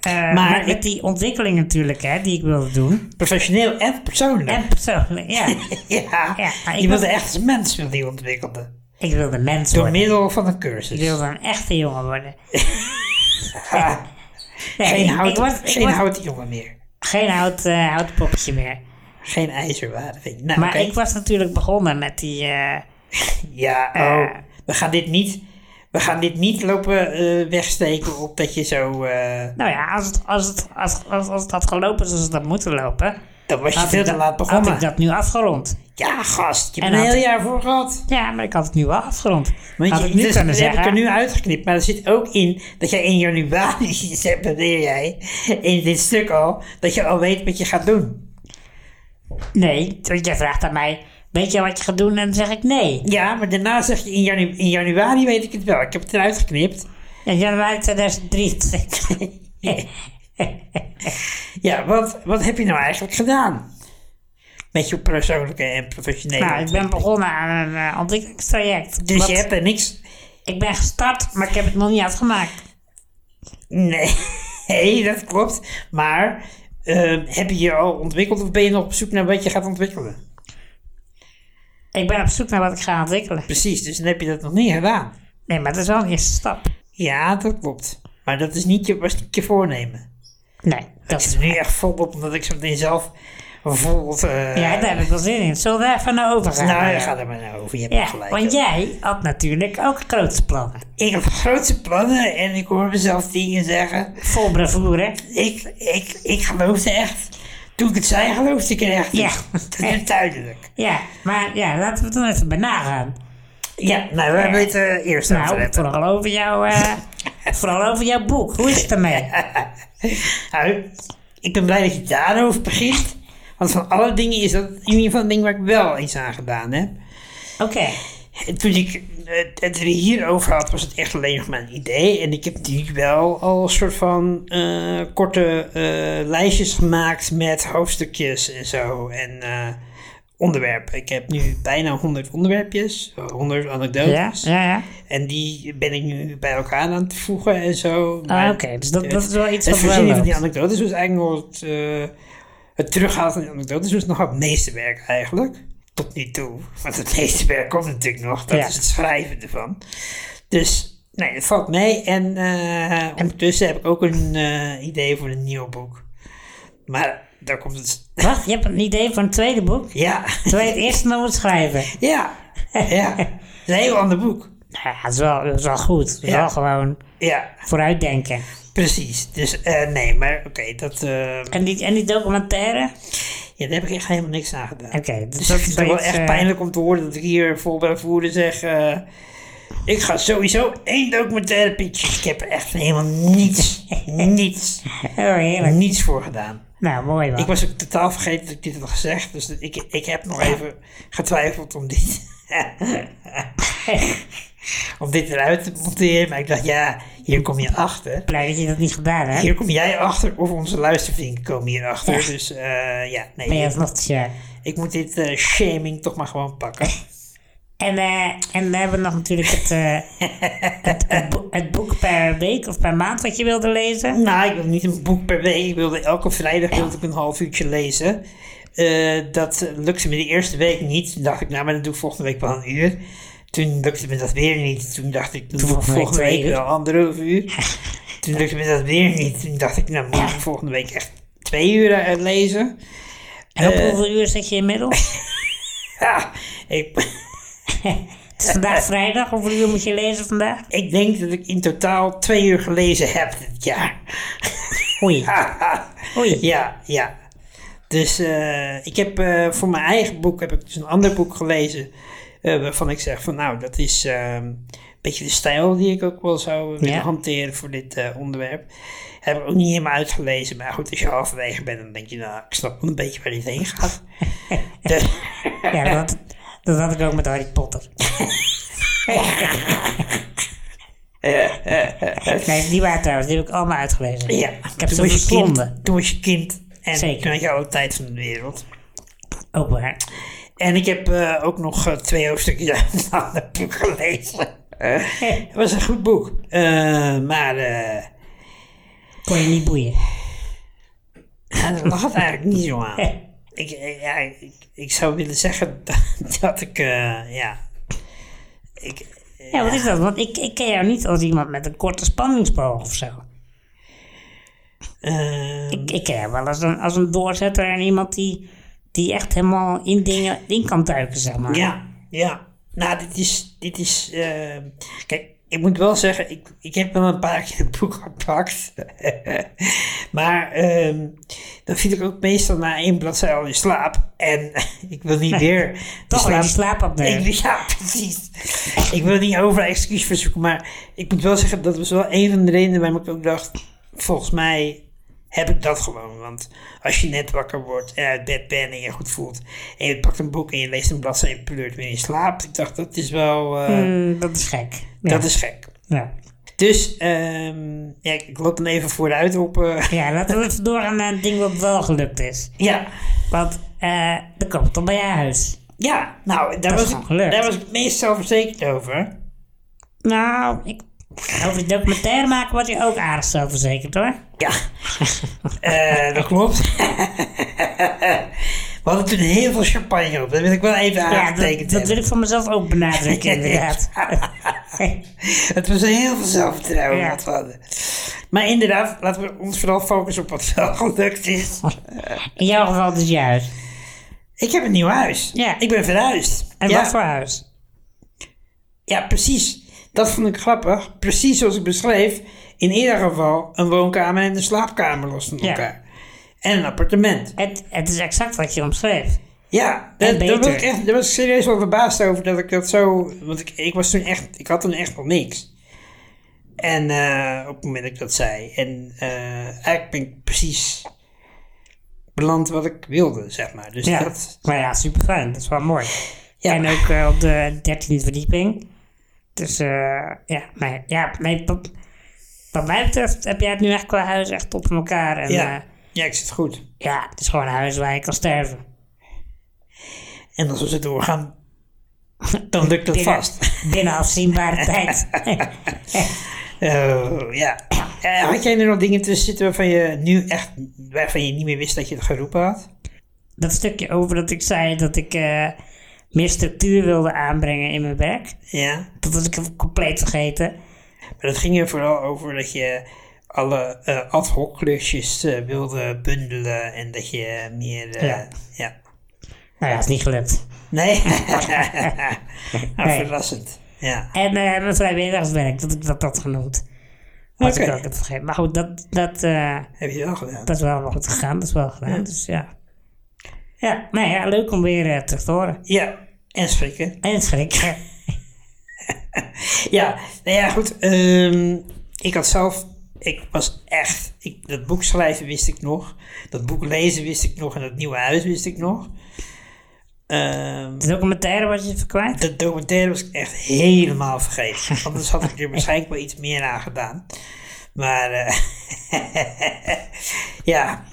S1: Eh, maar met,
S5: ik-
S1: die ontwikkeling natuurlijk, hè, die ik wilde doen.
S5: Professioneel en persoonlijk.
S1: En persoonlijk, ja.
S5: ja,
S1: Ja, maar ik
S5: je wilde
S1: was-
S5: echt als mens wilde je ontwikkelde.
S1: ik wilde mens
S5: Door
S1: worden.
S5: middel van een cursus.
S1: Ik wilde een echte jongen worden. nee,
S5: Geen,
S1: ik-
S5: hout,
S1: ik word, ik
S5: geen
S1: word
S5: houten jongen meer.
S1: geen hout, eh, houtpoppetje meer.
S5: Geen ijzerwaardiging. Nou,
S1: Maar
S5: oké.
S1: ik was natuurlijk begonnen met die... eh,
S5: Ja,
S1: eh,
S5: oh, we gaan dit niet... We gaan dit niet lopen eh, wegsteken op dat je zo... eh,
S1: nou ja, als het, als, het, als, als, als het had gelopen zoals het had moeten lopen...
S5: dan was je
S1: had
S5: veel
S1: ik
S5: te
S1: dat-
S5: laat
S1: Had
S5: begonnen.
S1: ik dat nu afgerond.
S5: Ja, gast. Je
S1: En
S5: hebt een
S1: had
S5: heel
S1: ik-
S5: jaar voor gehad.
S1: Ja, maar ik had het nu wel afgerond.
S5: Want
S1: had
S5: je-
S1: ik nu
S5: dus
S1: kunnen
S5: dat heb
S1: zeggen.
S5: ik er nu uitgeknipt. Maar er zit ook in dat jij in januari separeer jij in dit stuk al... dat je al weet wat je gaat doen.
S1: Nee, want jij vraagt aan mij, weet je wat je gaat doen? En dan zeg ik nee.
S5: Ja, maar daarna zeg je in, janu- in januari weet ik het wel. Ik heb het eruit geknipt.
S1: In januari 2023.
S2: ja, wat, wat heb je nou eigenlijk gedaan? Met je persoonlijke en professionele
S1: Nou, ik ben
S2: ontwikkeling?
S1: begonnen aan een eh, ontwikkelingstraject.
S2: Dus
S1: Wat-
S2: je hebt er niks...
S1: Ik ben gestart, maar ik heb het nog niet uitgemaakt.
S2: Nee, nee, dat klopt. Maar ehm, heb je je al ontwikkeld of ben je nog op zoek naar wat je gaat ontwikkelen?
S1: Ik ben op zoek naar wat ik ga ontwikkelen.
S2: Precies, dus dan heb je dat nog niet gedaan.
S1: Nee, maar dat is wel een eerste stap.
S2: Ja, dat klopt. Maar dat is niet je, was niet je voornemen.
S1: Nee, dat
S2: Dat
S1: is...
S2: is nu echt volop omdat ik zo meteen zelf bijvoorbeeld... eh,
S1: Ja, daar heb ik wel zin in. Zullen we daar even naar overgaan?
S2: Nou, daar gaat er maar naar over. Je hebt
S1: Ja,
S2: gelijk.
S1: want jij had natuurlijk ook grote plannen.
S2: Ik heb grote plannen en ik hoor mezelf dingen zeggen.
S1: Vol bravoure.
S2: Ik, ik, ik geloofde echt. Toen ik het zei, geloofde ik er echt in.
S1: Ja.
S2: Dat is duidelijk.
S1: Ja, maar ja, laten we het dan even bij nagaan.
S2: Ja, nou, we hebben het eh, eerst aan
S1: Nou, vooral over, jouw, eh, vooral over jouw boek. Hoe is het ermee?
S2: Nou, ik ben blij dat je daarover begint. Want van alle dingen is dat in ieder geval een ding waar ik wel iets aan gedaan heb.
S1: Oké,
S2: En toen ik eh, het er hierover had, was het echt alleen nog maar een idee. En ik heb natuurlijk wel al een soort van eh, korte eh, lijstjes gemaakt met hoofdstukjes en zo. En eh, onderwerpen. Ik heb nu bijna 100 onderwerpjes, 100
S1: ja,
S2: anekdotes.
S1: ja, ja.
S2: En die ben ik nu bij elkaar aan het voegen en zo.
S1: Ah, oké, dus dat- dat is wel iets
S2: het
S1: wat wel
S2: verzinnen van die
S1: loopt.
S2: anekdotes was eigenlijk nog het, eh, het terughalen van die anekdotes was nog het meeste werk eigenlijk. Tot nu toe. Want het meeste werk komt natuurlijk nog. Dat
S1: Ja.
S2: is het schrijven ervan. Dus, nee, het valt mee. En eh, ondertussen heb ik ook een eh, idee voor een nieuw boek. Maar daar komt het...
S1: Wat? Je hebt een idee voor een tweede boek?
S2: Ja,
S1: Terwijl je het eerste nog moet schrijven.
S2: ja, ja. Het is een heel ander boek.
S1: Nou ja, dat is wel, dat is wel goed. Dat is
S2: Ja.
S1: wel gewoon
S2: Ja,
S1: vooruitdenken.
S2: precies. Dus, eh, nee, maar oké, dat... eh,
S1: En die, en die documentaire?
S2: Ja, daar heb ik echt helemaal niks aan gedaan.
S1: Oké, dus
S2: Dus
S1: dat
S2: dat
S1: is
S2: is wel
S1: iets,
S2: echt
S1: eh,
S2: pijnlijk om te horen dat ik hier vol bij voeren zeg... eh, ik ga sowieso één documentaire pitchen. Ik heb er echt helemaal niets, niets,
S1: Oh, heerlijk.
S2: niets voor gedaan.
S1: Nou, mooi man.
S2: Ik was ook totaal vergeten dat ik dit had gezegd. Dus dat- ik, ik heb nog even getwijfeld om dit... om dit eruit te monteren. Maar ik dacht, ja, hier kom je achter.
S1: blij dat je dat niet gedaan hebt.
S2: Hier kom jij achter of onze luistervrienden komen hier achter.
S1: Ja.
S2: Dus eh, ja, nee.
S1: Maar je
S2: dit-
S1: hebt nog te zeggen.
S2: ik moet dit eh, shaming toch maar gewoon pakken.
S1: En, eh, en we hebben nog natuurlijk het, eh, het, het, boek, het boek per week of per maand wat je wilde lezen.
S2: nou, ik wil niet een boek per week. Ik wilde elke vrijdag wilde ik een half uurtje lezen. Eh, dat eh, lukte me de eerste week niet. Toen dacht ik, nou, maar dan doe ik volgende week wel een uur. Toen lukte me dat weer niet. Toen dacht ik, toen doe ik
S1: volgende week
S2: volgende
S1: twee
S2: week
S1: uur.
S2: wel anderhalf uur. Toen lukte me dat weer niet. Toen dacht ik, nou, moet ik volgende week echt twee uur eh, lezen.
S1: En op hoeveel uur zit je inmiddels?
S2: Ja, ik,
S1: Het is vandaag vrijdag. Hoeveel uur moet je lezen vandaag?
S2: ik denk dat ik in totaal twee uur gelezen heb dit jaar.
S1: Oei. Oei.
S2: Ja, ja. Dus eh, ik heb eh, voor mijn eigen boek heb ik dus een ander boek gelezen. eh, waarvan ik zeg van nou, dat is ehm, een beetje de stijl die ik ook wel zou willen
S1: Ja.
S2: hanteren voor dit eh, onderwerp. Heb ik ook niet helemaal uitgelezen. Maar goed, als je halverwege bent, dan denk je nou, ik snap wel een beetje waar dit heen gaat. dus,
S1: Ja, dat, dat had ik ook met Harry Potter. nee, die waren trouwens, die heb ik allemaal uitgelezen.
S2: ja,
S1: Ik heb
S2: toen
S1: ze
S2: was je
S1: verslonden.
S2: kind. Toen was je kind. En
S1: Zeker.
S2: toen had je alle tijd van de wereld.
S1: Ook waar.
S2: En ik heb eh, ook nog eh, twee hoofdstukjes uit een ander boek gelezen. Het was een goed boek. Eh, maar eh
S1: Kon je niet boeien.
S2: het lag het eigenlijk niet zo aan. Ik, eh, ja, ik, ik zou willen zeggen dat, dat ik, eh, ja... Ik,
S1: Ja, wat is dat? Want ik, ik ken jou niet als iemand met een korte spanningsboog of zo.
S2: eh,
S1: Ik, ik ken jou wel als een, als een doorzetter en iemand die, die echt helemaal in dingen in kan duiken, zeg maar.
S2: ja, ja. Nou, dit is... Dit is eh, kijk, ik moet wel zeggen, ik, ik heb wel een paar keer het boek gepakt. maar ehm, dan viel ik ook meestal na één bladzij al in slaap. En ik wil niet weer... in
S1: Toch wel een slaapapneu.
S2: Ik, ja, precies. Ik wil niet overal excuus verzoeken, maar ik moet wel zeggen, dat was wel een van de redenen waarom ik ook dacht, volgens mij heb ik dat gewoon. Want als je net wakker wordt en uit bed bent en je goed voelt, en je pakt een boek en je leest een bladzijde en je pleurt weer in slaap, ik dacht, dat is wel, eh,
S1: Mm, dat is gek. Hmm, Ja.
S2: dat is gek.
S1: Ja.
S2: Dus ehm, ja, ik ik loop dan even vooruit op. eh,
S1: Ja, laten we even doorgaan naar het ding wat wel gelukt is.
S2: ja.
S1: Want eh er komt toch bij je huis.
S2: ja, nou, daar
S1: is
S2: was,
S1: gewoon
S2: ik,
S1: gelukt.
S2: daar was ik het meest zelfverzekerd over.
S1: Nou, ik... Over die documentaire maken was je ook aardig zo verzekerd hoor.
S2: Ja, Eh, dat klopt. We hadden toen heel veel champagne op, dat wil ik wel even
S1: Ja, dat, dat
S2: aangetekend
S1: wil
S2: hebben.
S1: ik van mezelf ook benadrukken inderdaad.
S2: Het was heel veel zelfvertrouwen
S1: Ja.
S2: wat we hadden. Maar inderdaad, laten we ons vooral focussen op wat wel gelukt is.
S1: In jouw geval dus juist.
S2: Ik heb een nieuw huis.
S1: Ja.
S2: Ik ben verhuisd.
S1: En
S2: ja.
S1: wat voor huis?
S2: Ja, precies. Dat vond ik grappig. Precies zoals ik beschreef. In ieder geval een woonkamer en een slaapkamer los van
S1: Ja.
S2: elkaar. En een appartement.
S1: Het, het is exact wat je omschreef.
S2: Ja, dat,
S1: En
S2: daar, was
S1: beter.
S2: ik echt, daar was ik serieus wel verbaasd over dat ik dat zo... Want ik, ik was toen echt... Ik had toen echt nog niks. En eh, op het moment dat ik dat zei. En eh, eigenlijk ben ik precies beland wat ik wilde, zeg maar. Dus
S1: Ja,
S2: dat...
S1: maar ja, super fijn. Dat is wel mooi.
S2: Ja.
S1: En ook eh, op de 13e verdieping. Dus eh, ja, nee, ja, nee wat, wat mij betreft heb jij het nu echt qua huis echt op elkaar. En,
S2: Ja.
S1: ja.
S2: ja, ik zit goed.
S1: ja, het is gewoon een huis waar je kan sterven.
S2: En als we ze doorgaan, dan lukt dat
S1: Binnen-
S2: vast.
S1: Binnen afzienbare tijd.
S2: Oh, ja. Eh, had jij er nog dingen tussen zitten waarvan je nu echt, waarvan je niet meer wist dat je het geroepen had?
S1: dat stukje over dat ik zei dat ik eh, meer structuur wilde aanbrengen in mijn werk.
S2: Ja.
S1: Dat was ik compleet vergeten.
S2: Maar dat ging er vooral over dat je alle eh, ad hoc klusjes eh, wilde bundelen en dat je meer... eh,
S1: Ja.
S2: ja.
S1: Nou ja, is niet gelukt.
S2: Nee? Nou,
S1: Nee.
S2: Verrassend. Ja.
S1: En eh, mijn vrijwilligerswerk, dat ik dat had genoemd. Wat ik
S2: Oké.
S1: ook heb vergeten. Maar goed, dat, dat, eh,
S2: Heb je wel gedaan.
S1: dat is wel nog goed gegaan. Dat is wel gedaan, dus ja. Ja, nou ja, leuk om weer eh, terug te horen.
S2: Ja. En schrikken.
S1: En schrikken.
S2: Ja, nou ja, goed. ehm, ik had zelf, ik was echt, ik, dat boek schrijven wist ik nog. Dat boek lezen wist ik nog en dat nieuwe huis wist ik nog. Ehm,
S1: De documentaire was je even kwijt.
S2: dat documentaire was ik echt helemaal vergeten. Anders had ik er waarschijnlijk wel iets meer aan gedaan. Maar eh, ja,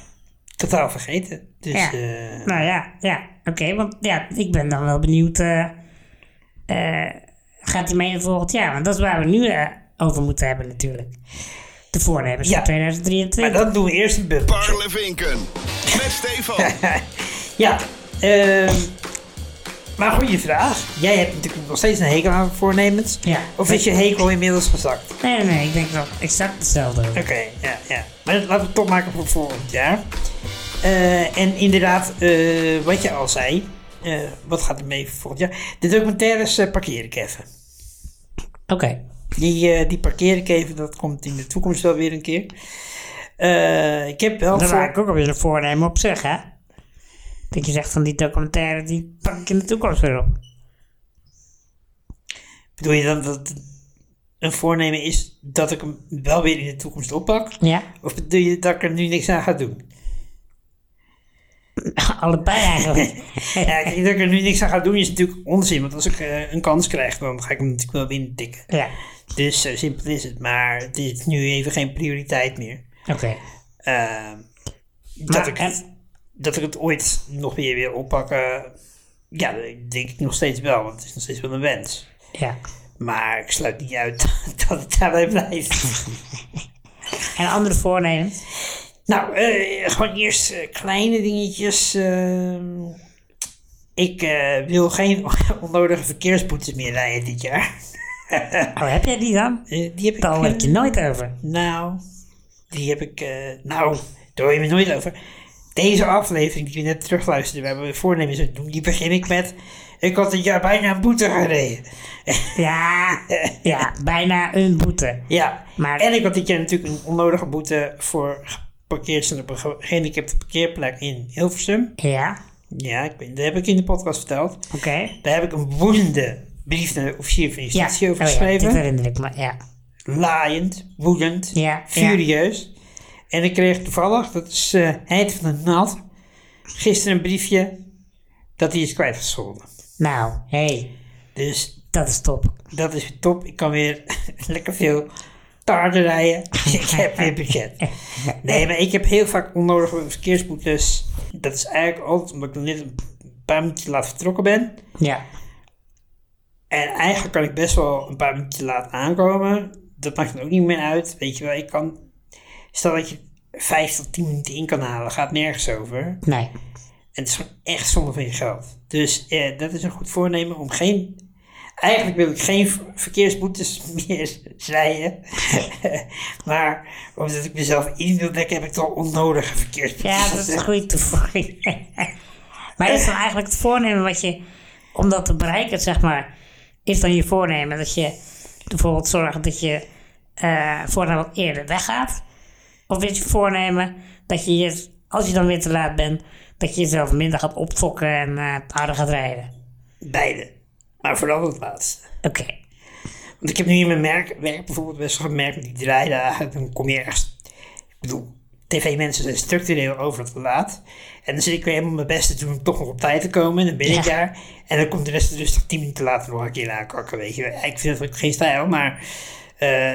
S2: totaal vergeten. Dus
S1: Ja.
S2: eh,
S1: Nou ja, ja. Oké, want ja, ik ben dan wel benieuwd. eh, eh, gaat hij mee in volgend jaar? Want dat is waar we nu eh, over moeten hebben natuurlijk. De voornemens
S2: Ja.
S1: van 2023.
S2: maar dan doen we eerst een bubbeltje.
S4: Parlevinken. Met Stefan.
S2: Ja, ehm, maar goede vraag. Jij hebt natuurlijk nog steeds een hekel aan voornemens.
S1: Ja.
S2: Of is je hekel inmiddels gezakt? Oké,
S1: Nee, nee, nee, ik denk wel exact hetzelfde. over.
S2: ja, ja. Maar laten we het toch maken voor volgend jaar. Eh, en inderdaad, eh, wat je al zei. eh, wat gaat er mee voor volgend jaar? De documentaires eh, parkeer ik even.
S1: Oké.
S2: Die, eh, die parkeer ik even. Dat komt in de toekomst wel weer een keer. Eh, ik heb wel
S1: Dan
S2: voor-
S1: maak ik ook alweer een voornemen op zich, hè? Dat je zegt van die documentaire, die pak ik in de toekomst weer op.
S2: Bedoel je dan dat het een voornemen is dat ik hem wel weer in de toekomst oppak?
S1: Ja?
S2: Of bedoel je dat ik er nu niks aan ga doen?
S1: Allebei eigenlijk.
S2: Ja, ik denk dat ik er nu niks aan ga doen is natuurlijk onzin. Want als ik eh, een kans krijg, dan ga ik hem natuurlijk wel binnen tikken.
S1: ja.
S2: Dus zo simpel is het. Maar het is nu even geen prioriteit meer.
S1: Oké.
S2: Ehm, dat,
S1: Maar,
S2: ik,
S1: eh,
S2: dat ik het ooit nog weer wil oppakken, ja, dat denk ik nog steeds wel. Want het is nog steeds wel een wens.
S1: ja.
S2: Maar ik sluit niet uit dat het daarbij blijft.
S1: En andere voornemens?
S2: Nou, eh, gewoon eerst eh, kleine dingetjes. ehm. ik eh, wil geen onnodige verkeersboetes meer rijden dit jaar.
S1: Oh, heb jij die dan?
S2: Eh, die heb ik.
S1: Daar hoor ik je
S2: eh,
S1: nooit over.
S2: Nou, die heb ik. eh, nou, daar hoor je me nooit over. Deze aflevering die we net terugluisterden, waar we voornemens aan doen, die begin ik met. Ik had dit jaar bijna een boete gereden.
S1: Ja, ja, bijna een boete.
S2: Ja,
S1: Maar-
S2: en ik had dit jaar natuurlijk een onnodige boete voor geparkeerd zijn op een ge- gehandicapte parkeerplek in Hilversum.
S1: Ja,
S2: Ja, ik weet, dat heb ik in de podcast verteld.
S1: oké.
S2: Daar heb ik een woedende brief naar de officier van
S1: Ja,
S2: justitie over
S1: oh ja, dit
S2: geschreven.
S1: herinner ik me, ja.
S2: Laaiend, woedend,
S1: Ja,
S2: furieus. En ik kreeg toevallig, dat is eh Heid van het Nat, gisteren een briefje dat hij is kwijtgescholden.
S1: Nou, hé, hey,
S2: Dus
S1: dat is top.
S2: dat is top. Ik kan weer lekker veel te hard rijden. Dus ik heb weer budget. Nee, maar ik heb heel vaak onnodige verkeersboetes. Dat is eigenlijk altijd omdat ik net een paar minuten laat vertrokken ben.
S1: Ja.
S2: En eigenlijk kan ik best wel een paar minuten laat aankomen. Dat maakt dan ook niet meer uit. Weet je wel, ik kan... Stel dat je vijf tot tien minuten in kan halen, gaat nergens over.
S1: Nee.
S2: En het is gewoon echt zonde van je geld. Dus eh, dat is een goed voornemen om geen. Eigenlijk wil ik geen v- verkeersboetes meer rijden. maar omdat ik mezelf in wil dekken, heb ik toch onnodige verkeersboetes.
S1: Ja, dat is een goede toevoeging. maar is dan eigenlijk het voornemen wat je, om dat te bereiken, zeg maar, is dan je voornemen dat je bijvoorbeeld zorgt dat je eh voortaan wat eerder weggaat? Of is je voornemen dat je, je, als je dan weer te laat bent, dat je jezelf minder gaat opfokken en eh, harder gaat rijden?
S2: Beide. Maar vooral het laatste.
S1: Oké.
S2: Want ik heb nu in mijn merk, werk bijvoorbeeld best wel gemerkt met die draaidagen. Dan kom je ergens. Ik bedoel, tv-mensen zijn structureel overal te laat. En dan zit ik weer helemaal mijn best te doen om toch nog op tijd te komen. En dan ben
S1: Ja.
S2: ik daar. En dan komt de rest rustig tien minuten later nog een keer aankakken, weet je. Ik vind dat ook geen stijl, maar... eh,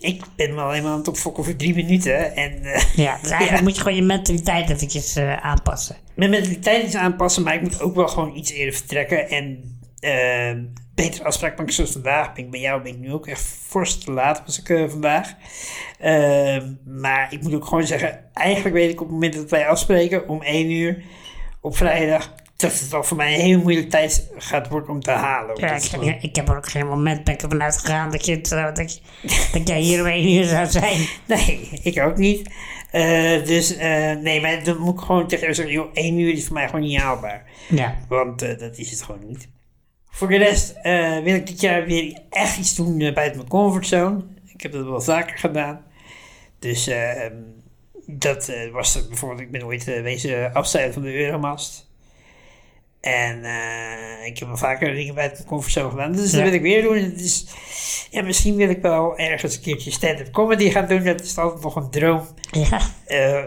S2: ik ben me alleen maar aan het opfokken voor drie minuten. En eh,
S1: Ja, dus eigenlijk moet je gewoon je mentaliteit eventjes eh, aanpassen.
S2: mijn mentaliteit is aanpassen, maar ik moet ook wel gewoon iets eerder vertrekken. En eh, betere afspraakbank zoals vandaag ben ik bij jou ben ik nu ook echt fors te laat was ik eh, vandaag. Eh, maar ik moet ook gewoon zeggen, eigenlijk weet ik op het moment dat wij afspreken om 1 uur op vrijdag, dat het al voor mij een heel moeilijk tijd gaat worden om te halen.
S1: Ja,
S2: Omdat
S1: ik,
S2: het
S1: heb-
S2: gewoon-
S1: ik heb er ook geen moment ben ik ervan uitgegaan dat, je, het zou- dat, je, dat jij hier om één uur zou zijn.
S2: Nee, ik ook niet. Eh, dus eh, nee, maar dan moet ik gewoon tegen jou zeggen, joh, 1 uur is voor mij gewoon niet haalbaar.
S1: Ja.
S2: Want eh, dat is het gewoon niet. Voor de rest eh, wil ik dit jaar weer echt iets doen eh, buiten mijn comfortzone. Ik heb dat wel vaker gedaan. Dus eh, ehm, dat eh, was er bijvoorbeeld, ik ben ooit eh, wezen afstijden van de Euromast. En eh, ik heb al vaker dingen buiten mijn comfortzone gedaan. Dus dat
S1: Ja.
S2: wil ik weer doen. En Het is, ja, misschien wil ik wel ergens een keertje stand-up comedy gaan doen. Dat is altijd nog een droom.
S1: Ja,
S2: Eh,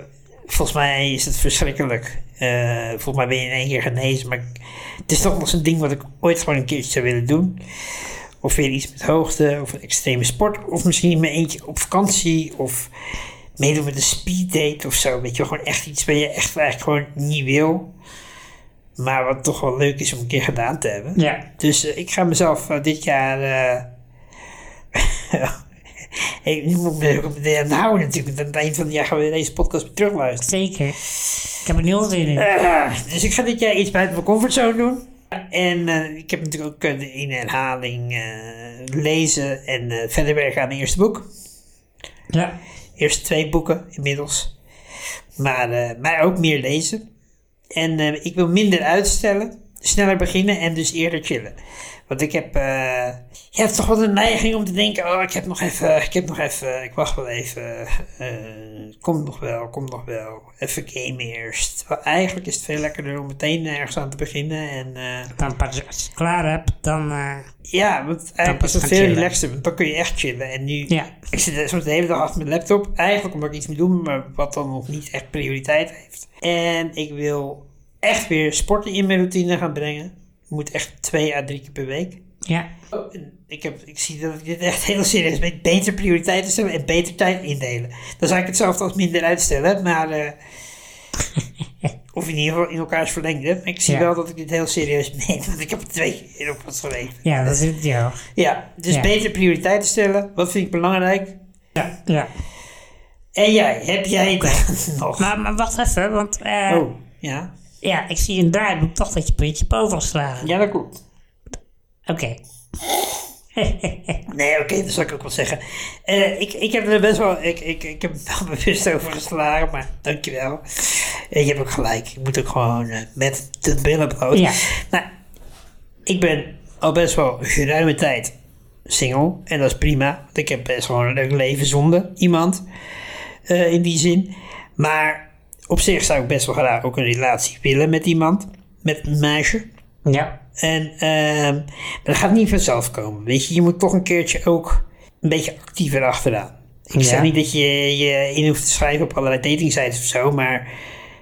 S2: volgens mij is het verschrikkelijk. Eh, volgens mij ben je in één keer genezen. Maar ik- het is toch nog zo'n ding wat ik ooit gewoon een keertje zou willen doen. Of weer iets met hoogte, of een extreme sport. Of misschien met eentje op vakantie. Of meedoen met een speeddate of zo. Weet je, wel, gewoon echt iets waar je echt eigenlijk gewoon niet wil. Maar wat toch wel leuk is om een keer gedaan te hebben.
S1: ja.
S2: Dus eh, ik ga mezelf eh, dit jaar. eh, ik, nu moet ik me ook meteen aan houden natuurlijk. want Aan het eind van het jaar gaan we deze podcast weer terugluisteren.
S1: zeker. Ik heb er nul zin in.
S2: Eh, dus ik ga dit jaar iets buiten mijn comfortzone doen. En eh, ik heb natuurlijk ook eh, de in herhaling eh, lezen en eh, verder werken aan het eerste boek.
S1: Ja.
S2: Eerste twee boeken inmiddels. Maar, eh, maar ook meer lezen. En eh, ik wil minder uitstellen, sneller beginnen en dus eerder chillen. Want ik heb, eh, je hebt toch wel een neiging om te denken: oh, ik heb nog even, ik heb nog even, ik wacht wel even. eh komt nog wel, komt nog wel. Even game eerst. Terwijl eigenlijk is het veel lekkerder om meteen ergens aan te beginnen. En eh,
S1: Dan pas als je het klaar hebt, dan... eh,
S2: ja, want eigenlijk
S1: pas
S2: is het
S1: gaan
S2: veel
S1: chillen.
S2: relaxer, want dan kun je echt chillen. En nu,
S1: ja.
S2: ik zit soms de hele dag achter mijn laptop. Eigenlijk omdat ik iets moet doen, maar wat dan nog niet echt prioriteit heeft. En ik wil echt weer sporten in mijn routine gaan brengen. Ik moet echt twee à drie keer per week. Oh,
S1: Ja.
S2: En Ik, heb, ik zie dat ik dit echt heel serieus met beter prioriteiten stellen en beter tijd indelen. Dat is eigenlijk hetzelfde als minder uitstellen, maar... eh, of in ieder geval in elkaars verlengde. Maar ik zie
S1: Ja.
S2: wel dat ik dit heel serieus meen, want ik heb er twee keer op wat geweten.
S1: Ja, dat is het, ja.
S2: Ja, dus
S1: Ja.
S2: beter prioriteiten stellen. Wat vind ik belangrijk? Ja,
S1: ja.
S2: en jij, heb jij dat nog?
S1: Maar, maar wacht even, want... eh,
S2: oh, ja.
S1: Ja, ik zie een draaiboek toch dat je puntje hebt overgeslagen.
S2: Ja, dat klopt.
S1: Oké.
S2: Nee, oké, dat zal ik ook wel zeggen. Eh, ik, ik heb er best wel, ik, ik, ik heb er wel bewust over geslagen, maar dankjewel. Eh, je hebt ook gelijk. Ik moet ook gewoon eh, met de billen bloot.
S1: Ja.
S2: Nou, ik ben al best wel geruime tijd single. En dat is prima. Want ik heb best gewoon een leuk leven zonder iemand. eh, in die zin. Maar op zich zou ik best wel graag ook een relatie willen met iemand. Met een meisje.
S1: ja.
S2: En ehm, maar dat gaat niet vanzelf komen. Weet je, je moet toch een keertje ook een beetje actiever achteraan. Ik
S1: Ja.
S2: zeg niet dat je je in hoeft te schrijven op allerlei datingsites of zo, maar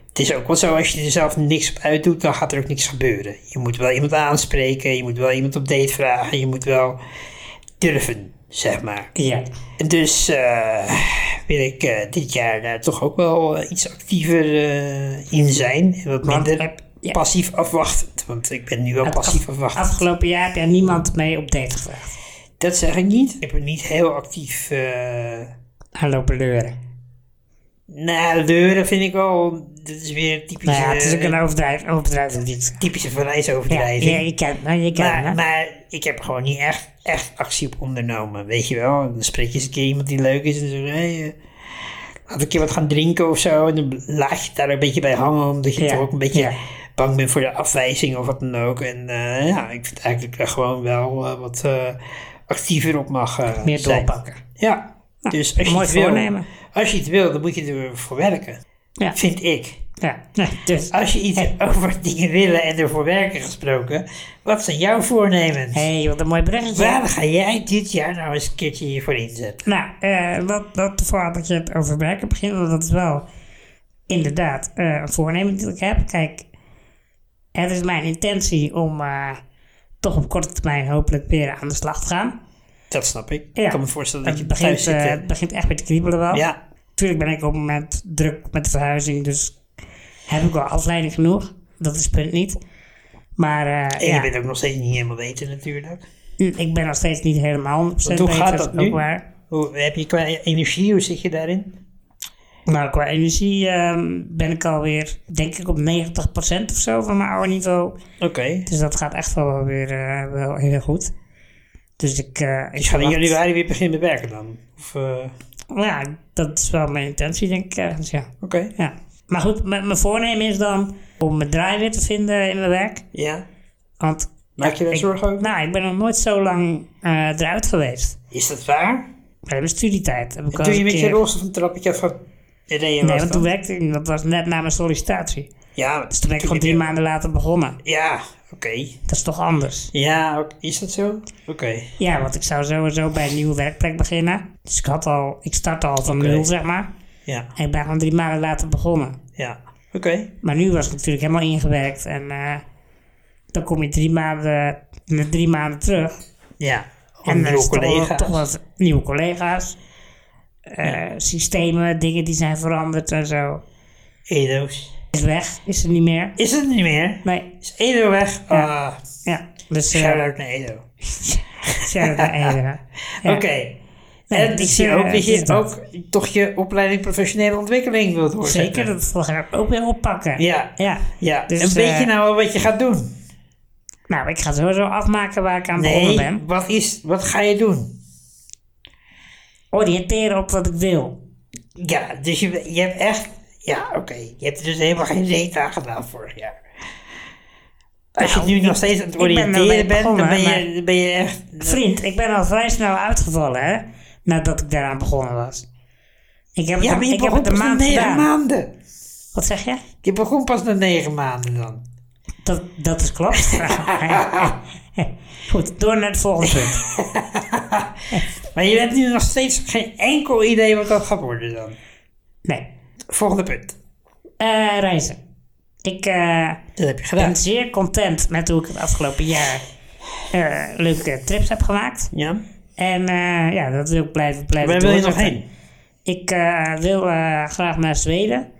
S2: het is ook wel zo, als je er zelf niks op uitdoet, dan gaat er ook niks gebeuren. Je moet wel iemand aanspreken, je moet wel iemand op date vragen, je moet wel durven. zeg maar.
S1: Ja.
S2: En Dus eh, wil ik eh, dit jaar daar toch ook wel eh, iets actiever eh, in zijn. En wat
S1: Want,
S2: minder
S1: eh, ja.
S2: passief afwachtend. Want ik ben nu wel
S1: Het
S2: passief
S1: af-
S2: afwachtend.
S1: Afgelopen jaar heb jij niemand mee op date gevraagd.
S2: Dat zeg ik niet. Ik ben niet heel actief. eh
S1: Aanlopen leuren.
S2: nou, deuren vind ik wel. Dat is weer typisch.
S1: Nou ja, het is ook een overdrijf, overdrijving die ik zeg.
S2: typische van
S1: Ja,
S2: overdrijving.
S1: ja, je kent me, je kent
S2: Maar,
S1: me.
S2: maar ik heb gewoon niet echt, echt actie op ondernomen, weet je wel. Dan spreek je eens een keer iemand die leuk is en zo, hey, eh, laat ik een keer wat gaan drinken of zo. En dan laat je het daar een beetje bij hangen, omdat je
S1: Ja,
S2: toch ook een beetje
S1: ja.
S2: bang bent voor de afwijzing of wat dan ook. En eh, ja, ik vind eigenlijk daar gewoon wel eh, wat eh, actiever op mag eh,
S1: Meer
S2: zijn.
S1: doorpakken. Nou,
S2: Ja, dus als je,
S1: mooi
S2: het wil,
S1: voornemen.
S2: als je het wil, dan moet je ervoor werken,
S1: Ja.
S2: vind ik.
S1: Ja, nee, dus.
S2: Als je iets over dingen willen en ervoor werken gesproken, wat zijn jouw voornemens?
S1: Hé, hey, wat een mooi bruggetje.
S2: Waar ga jij dit jaar nou eens een keertje hiervoor inzetten?
S1: Nou, eh, wat, wat voordat je het over werken begint, want dat is wel inderdaad eh, een voornemen dat ik heb. Kijk, het is mijn intentie om eh, toch op korte termijn hopelijk weer aan de slag te gaan.
S2: Dat snap ik.
S1: Ja.
S2: Ik kan me voorstellen dat je
S1: het
S2: thuis
S1: begint, eh,
S2: zit. eh,
S1: het begint echt weer te kriebelen wel.
S2: ja,
S1: Natuurlijk ben ik op het moment druk met de verhuizing, dus heb ik wel afleiding genoeg. Dat is het punt niet. Maar eh,
S2: en
S1: ja,
S2: je bent ook nog steeds niet helemaal weten natuurlijk.
S1: ik ben nog steeds niet helemaal 100%
S2: Want hoe
S1: beter,
S2: gaat
S1: is
S2: dat
S1: ook
S2: nu?
S1: waar.
S2: Hoe heb je qua energie, hoe zit je daarin?
S1: Nou, qua energie ehm, ben ik alweer, denk ik, op 90% of zo van mijn oude niveau.
S2: Oké.
S1: Dus dat gaat echt wel weer eh, wel heel goed. Dus ik, eh ik
S2: Dus gaan we in
S1: verwacht- Nou
S2: januari weer beginnen met werken dan? Of, eh, Oké.
S1: Ja, dat is wel mijn intentie, denk ik ergens, ja. ja. Maar goed, mijn mijn voornemen is dan om mijn draai weer te vinden in mijn werk.
S2: Ja.
S1: Want,
S2: Maak je daar
S1: ik-
S2: zorgen over?
S1: nou, ik ben nog nooit zo lang eh, eruit geweest.
S2: Is dat waar?
S1: Bij mijn studietijd heb ik al
S2: Toen
S1: eens
S2: je met
S1: een
S2: je
S1: keer-
S2: rolstoel een trappetje af van reden
S1: Nee,
S2: was
S1: want
S2: dan?
S1: toen werkte ik, niet, dat was net na mijn sollicitatie.
S2: Ja, maar
S1: Dus toen ben ik gewoon
S2: toen je
S1: drie
S2: weer-
S1: maanden later begonnen.
S2: Ja, oké.
S1: Dat is toch anders?
S2: Ja, ook- is dat zo? Oké.
S1: Ja, want ik zou sowieso bij een nieuwe werkplek beginnen. Dus ik, had al, ik start al van nul, zeg maar.
S2: Ja,
S1: En ik ben gewoon drie maanden later begonnen.
S2: ja. Oké.
S1: Maar nu was ik natuurlijk helemaal ingewerkt. En eh, dan kom je drie maanden, na drie maanden terug.
S2: Ja.
S1: en dan
S2: nieuwe
S1: is toch wel-
S2: collega's.
S1: toch wat nieuwe collega's. eh, Systemen, dingen die zijn veranderd en zo.
S2: Edo's.
S1: Is weg, is er niet meer.
S2: Is het niet meer?
S1: Nee,
S2: Is Edo weg? Ah,
S1: ja. Dus eh,
S2: shout-out naar Edo.
S1: shout-out naar Ede. Ja.
S2: Oké.
S1: Nee,
S2: en ik
S1: dus,
S2: zie
S1: eh,
S2: ook dat
S1: het is
S2: je ook toch je opleiding professionele ontwikkeling wilt doorzetten.
S1: Zeker, dat we gaan ook weer oppakken.
S2: Ja.
S1: Ja.
S2: Ja,
S1: Dus,
S2: en weet
S1: eh,
S2: je nou al wat je gaat doen?
S1: Nou, ik ga sowieso afmaken waar ik aan begonnen
S2: Nee,
S1: ben.
S2: wat, is, wat ga je doen?
S1: Oriënteren op wat ik wil.
S2: Ja, dus je, je hebt echt... Ja, oké. Je hebt er dus helemaal geen reet aan gedaan vorig jaar. Als
S1: Nou,
S2: je nu
S1: ik-
S2: nog steeds aan het
S1: ik ben ermee
S2: oriënteren bent,
S1: begonnen,
S2: dan ben je,
S1: maar-
S2: dan ben je echt...
S1: Vriend, ik ben al vrij snel uitgevallen, hè? Nadat ik daaraan begonnen was. Ik heb
S2: Ja,
S1: het,
S2: maar je
S1: ik heb
S2: begon
S1: het een
S2: pas na
S1: maand
S2: negen
S1: gedaan.
S2: maanden.
S1: Wat zeg je?
S2: Je begon pas na negen maanden dan.
S1: Dat, dat is klopt. Goed, door naar het volgende punt.
S2: Maar je hebt nu nog steeds geen enkel idee wat dat gaat worden dan.
S1: Nee.
S2: Volgende punt.
S1: Eh, reizen. Ik eh,
S2: Dat heb je gedaan.
S1: ben zeer content met hoe ik het afgelopen jaar eh, leuke trips heb gemaakt.
S2: Ja.
S1: En eh, ja, dat wil ik blijven, blijven
S2: Waar wil je nog
S1: doorzetten.
S2: heen?
S1: Ik eh, wil eh, graag naar Zweden.